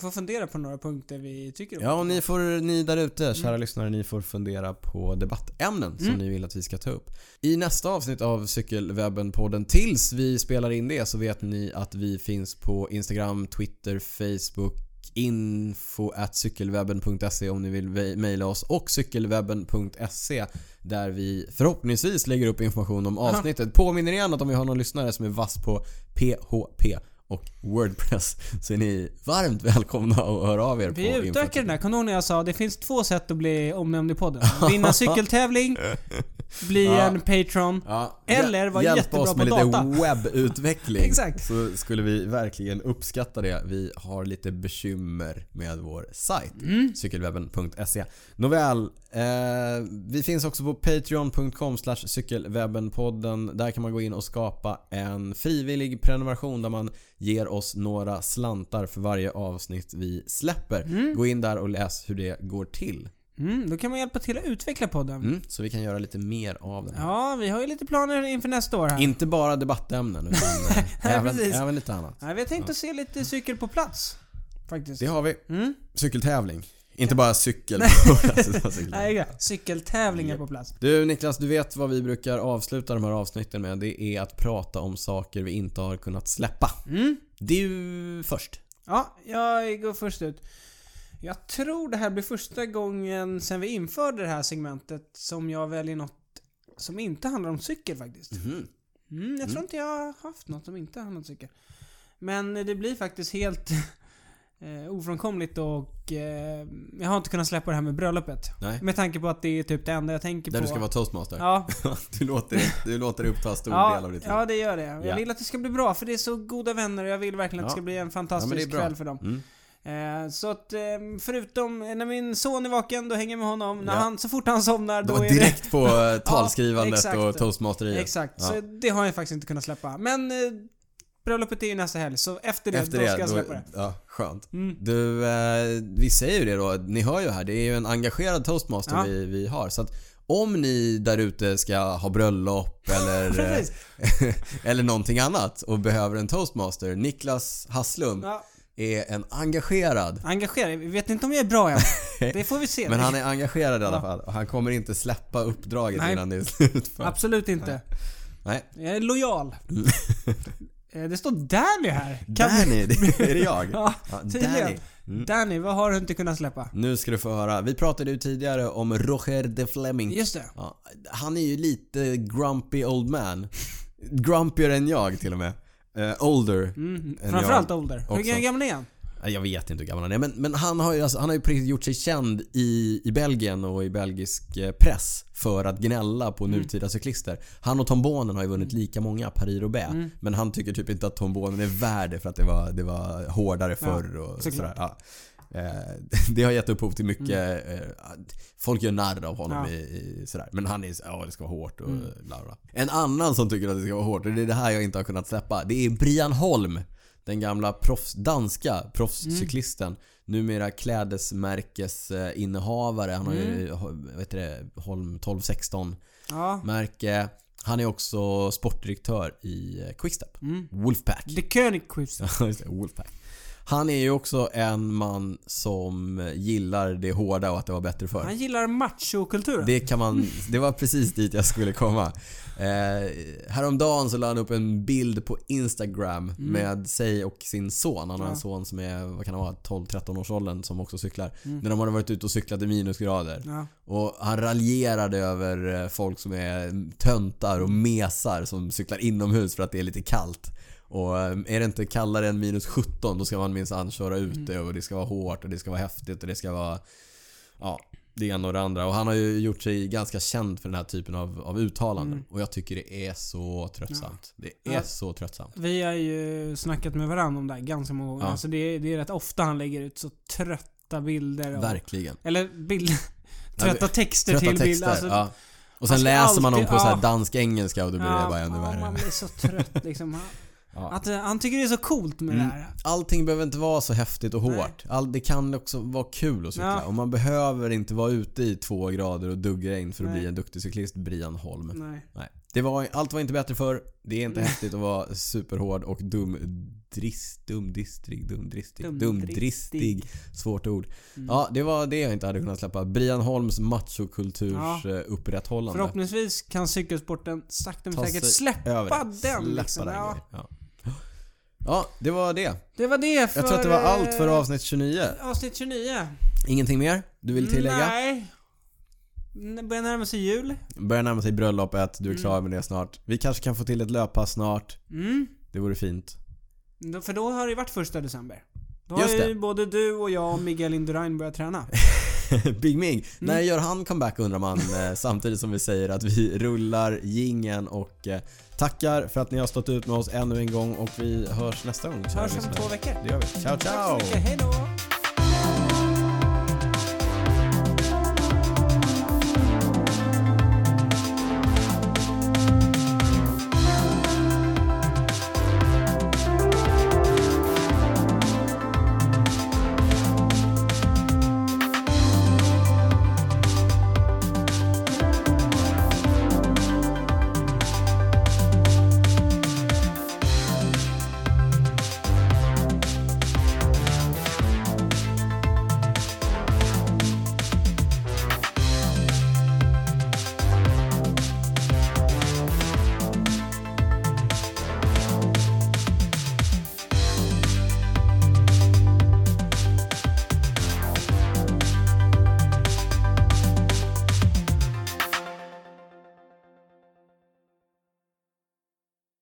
Speaker 2: Får fundera på några punkter vi tycker om.
Speaker 1: Ja, och ni, får, ni där ute, kära lyssnare, ni får fundera på debattämnen som
Speaker 2: Mm.
Speaker 1: ni vill att vi ska ta upp. I nästa avsnitt av Cykelwebben-podden, tills vi spelar in det, så vet ni att vi finns på Instagram, Twitter, Facebook, info at cykelwebben.se om ni vill ve- mejla oss och cykelwebben.se där vi förhoppningsvis lägger upp information om avsnittet. Påminner igen att om vi har någon lyssnare som är vass på PHP och Wordpress så är ni varmt välkomna att höra av er på
Speaker 2: Vi utökar den
Speaker 1: info-
Speaker 2: där. Kommer du ihåg när jag sa det finns två sätt att bli omnämnd i podden? Vinna cykeltävling, bli
Speaker 1: Ja.
Speaker 2: en patron.
Speaker 1: Ja,
Speaker 2: Eller var
Speaker 1: hjälp
Speaker 2: jättebra
Speaker 1: oss med
Speaker 2: på
Speaker 1: lite
Speaker 2: data.
Speaker 1: webbutveckling.
Speaker 2: Exakt.
Speaker 1: Så skulle vi verkligen uppskatta det. Vi har lite bekymmer med vår sajt.
Speaker 2: Mm.
Speaker 1: Cykelwebben.se. Nåväl, eh, vi finns också på patreon.com slash cykelwebbenpodden. Där kan man gå in och skapa en frivillig prenumeration där man ger oss några slantar för varje avsnitt vi släpper. Gå in där och läs hur det går till.
Speaker 2: Mm, då kan man hjälpa till att utveckla podden.
Speaker 1: Mm, så vi kan göra lite mer av den här
Speaker 2: Ja, vi har ju lite planer inför nästa år här.
Speaker 1: Inte bara debattämnen utan eh,
Speaker 2: Nej,
Speaker 1: även,
Speaker 2: precis.
Speaker 1: även lite annat.
Speaker 2: Nej, vi har tänkt att se lite cykel på plats. Faktiskt.
Speaker 1: Det har vi.
Speaker 2: Mm.
Speaker 1: Cykeltävling. Inte bara cykel.
Speaker 2: Alltså, Nej, ja. cykeltävlingar på plats.
Speaker 1: du Niklas, du vet vad vi brukar avsluta de här avsnitten med. Det är att prata om saker vi inte har kunnat släppa.
Speaker 2: Mm.
Speaker 1: Du först.
Speaker 2: Ja, jag går först ut. Jag tror det här blir första gången sen vi införde det här segmentet som jag väljer något som inte handlar om cykel faktiskt. Mm, jag tror inte jag har haft något som inte handlar om cykel. Men det blir faktiskt helt eh, ofrånkomligt och eh, jag har inte kunnat släppa det här med bröllopet.
Speaker 1: Nej.
Speaker 2: Med tanke på att det är typ det enda jag tänker
Speaker 1: Där
Speaker 2: på.
Speaker 1: du ska vara toastmaster.
Speaker 2: Ja,
Speaker 1: Du, låter, du låter det uppta stor
Speaker 2: ja,
Speaker 1: del av ditt liv.
Speaker 2: ja, det gör det. Jag
Speaker 1: Ja.
Speaker 2: vill att det ska bli bra för det är så goda vänner och jag vill verkligen att det
Speaker 1: Ja.
Speaker 2: ska bli en
Speaker 1: Ja, men det är
Speaker 2: fantastisk
Speaker 1: bra.
Speaker 2: kväll för dem.
Speaker 1: Mm.
Speaker 2: Eh, Så att eh, förutom eh, när min son är vaken, då hänger jag med honom. När
Speaker 1: Ja.
Speaker 2: han, så fort han somnar,
Speaker 1: Det
Speaker 2: då
Speaker 1: var
Speaker 2: är det...
Speaker 1: direkt på eh, talskrivandet
Speaker 2: exakt.
Speaker 1: och toastmasteriet.
Speaker 2: Exakt.
Speaker 1: Ja.
Speaker 2: Så det har jag faktiskt inte kunnat släppa. Men eh, bröllopet är ju nästa helg, så efter det,
Speaker 1: Efter
Speaker 2: då
Speaker 1: det,
Speaker 2: ska jag
Speaker 1: då-
Speaker 2: släppa det.
Speaker 1: Ja, skönt.
Speaker 2: Mm.
Speaker 1: Du, eh, vi säger ju det då. Ni hör ju här. Det är ju en engagerad toastmaster
Speaker 2: Ja.
Speaker 1: vi, vi har. Så att om ni där ute ska ha bröllop eller, eh,
Speaker 2: Precis.
Speaker 1: eller någonting annat och behöver en toastmaster. Niklas Hasslum
Speaker 2: Ja,
Speaker 1: är en engagerad.
Speaker 2: engagera er. Vi vet inte om jag är bra än. Det får vi se.
Speaker 1: Men han är engagerad i alla
Speaker 2: Ja.
Speaker 1: fall. Och han kommer inte släppa uppdraget
Speaker 2: Nej.
Speaker 1: innan det är slutfört.
Speaker 2: Absolut inte.
Speaker 1: Nej.
Speaker 2: Jag är lojal. Eh, Det står Danny här. Kan vi-
Speaker 1: Danny, det är det jag.
Speaker 2: Ja, tydligen.
Speaker 1: Danny. Mm.
Speaker 2: Danny, vad har du inte kunnat släppa?
Speaker 1: Nu ska du få höra. Vi pratade ju tidigare om Roger de Fleming.
Speaker 2: Just det.
Speaker 1: Ja, han är ju lite grumpy old man. Grumpier än jag till och med. Eh, older.
Speaker 2: Mm.
Speaker 1: jag
Speaker 2: Framförallt Older.
Speaker 1: också.
Speaker 2: Hur gammal är han?
Speaker 1: Eh, Jag vet inte hur gammal han är men, men han har ju alltså, han har ju på riktigt gjort sig känd i, i Belgien och i belgisk eh, press för att gnälla på
Speaker 2: Mm.
Speaker 1: nutida cyklister. Han och Tom Bonen har ju vunnit lika många Paris-Roubaix
Speaker 2: Mm.
Speaker 1: men han tycker typ inte att Tom Bonen är värd det för att det var, det var hårdare förr och
Speaker 2: såklart.
Speaker 1: sådär. Ja. Eh, Det har gett upphov till mycket, eh, folk gör narr av honom
Speaker 2: Mm. Ja. Mm.
Speaker 1: i, i sådär. Men han är så- ja det ska vara hårt och bla bla. En annan som tycker att det ska vara hårt, och det är det här jag inte har kunnat släppa. Det är Brian Holm. Den gamla proffs, danska proffscyklisten.
Speaker 2: Mm.
Speaker 1: Numera
Speaker 2: Mm.
Speaker 1: klädesmärkesinnehavare. Han har ju, ha- vad heter det, Holm 1216
Speaker 2: Ja.
Speaker 1: märke. Han är också sportdirektör i eh, Quickstep.
Speaker 2: Mm.
Speaker 1: Wolfpack.
Speaker 2: The König Quiz.
Speaker 1: Ja, just det, Wolfpack. Han är ju också en man som gillar det hårda och att det var bättre förr.
Speaker 2: Han gillar machokulturen.
Speaker 1: Det kan man... Det var precis dit jag skulle komma. Eh, häromdagen så la han upp en bild på Instagram med sig och sin son. Han har en
Speaker 2: Mm. Ja.
Speaker 1: son som är, vad kan han vara, 12-13 års åldern som också cyklar.
Speaker 2: Mm.
Speaker 1: När de hade varit ute och cyklat i minusgrader.
Speaker 2: Ja.
Speaker 1: Och han raljerade över eh, folk som är töntar och mesar som cyklar inomhus för att det är lite kallt. Och eh, är det inte kallare än minus 17 då ska man minsann köra
Speaker 2: Mm.
Speaker 1: ute och det ska vara hårt och det ska vara häftigt och det ska vara... Ja, det ena och det andra. Och han har ju gjort sig ganska känd för den här typen av, av uttalanden. Och jag tycker det är så tröttsamt. Det är
Speaker 2: Mm. Ja.
Speaker 1: så tröttsamt.
Speaker 2: Vi har ju snackat med varandra om det här ganska många gånger.
Speaker 1: Ja.
Speaker 2: Alltså det, är, det är rätt ofta han lägger ut så trötta bilder. Och,
Speaker 1: Verkligen.
Speaker 2: eller bilder.
Speaker 1: Ja,
Speaker 2: trötta texter
Speaker 1: Trötta
Speaker 2: till bilder.
Speaker 1: texter.
Speaker 2: Alltså,
Speaker 1: ja. Och sen
Speaker 2: alltså
Speaker 1: läser man dem
Speaker 2: alltid-
Speaker 1: på så här
Speaker 2: ja.
Speaker 1: dansk-engelska och då blir
Speaker 2: ja,
Speaker 1: det bara ännu
Speaker 2: ja,
Speaker 1: värre.
Speaker 2: Man blir så trött liksom. Han,
Speaker 1: Ja.
Speaker 2: att, eh, han tycker det är så coolt med
Speaker 1: Mm.
Speaker 2: det här.
Speaker 1: Allting behöver inte vara så häftigt och
Speaker 2: Nej.
Speaker 1: hårt. All, det kan också vara kul att cykla.
Speaker 2: Ja.
Speaker 1: Och man behöver inte vara ute i två grader och duggregn för att
Speaker 2: Nej.
Speaker 1: bli en duktig cyklist, Brian Holm. Nej.
Speaker 2: Nej.
Speaker 1: Det var, allt var inte bättre för Det är inte häftigt att vara superhård och dum, drist, dumdristig, dumdristig, dumdristig. Svårt ord.
Speaker 2: Mm.
Speaker 1: Ja, det var det jag inte hade kunnat släppa. Brian Holms machokulturs
Speaker 2: Ja.
Speaker 1: eh, upprätthållande.
Speaker 2: Förhoppningsvis kan cykelsporten sakta
Speaker 1: Ta
Speaker 2: men säkert
Speaker 1: sig
Speaker 2: släppa
Speaker 1: Över
Speaker 2: den.
Speaker 1: det. Släppa
Speaker 2: liksom.
Speaker 1: den
Speaker 2: ja.
Speaker 1: grejen. ja. ja, det var det.
Speaker 2: Det var det för...
Speaker 1: Jag tror att det var allt för
Speaker 2: eh,
Speaker 1: avsnitt 29.
Speaker 2: avsnitt 29.
Speaker 1: Ingenting mer du vill tillägga?
Speaker 2: Nej. Det börjar närma sig jul.
Speaker 1: Börjar närma sig bröllopet, du är klar med det snart. Vi kanske kan få till ett löppass snart.
Speaker 2: Mm.
Speaker 1: Det vore fint.
Speaker 2: Då- För då har det varit första december. Då
Speaker 1: Just
Speaker 2: har ju
Speaker 1: det.
Speaker 2: både du och jag och Miguel Indurain börjat träna.
Speaker 1: Big Ming.
Speaker 2: Mm.
Speaker 1: När gör han comeback undrar man eh, samtidigt som vi säger att vi rullar gingen och eh, tackar för att ni har stått ut med oss ännu en gång och vi hörs nästa gång. kära
Speaker 2: Hörs om
Speaker 1: lyssnare.
Speaker 2: två veckor.
Speaker 1: Det gör vi. Ciao
Speaker 2: Tack så
Speaker 1: ciao!
Speaker 2: mycket, hejdå!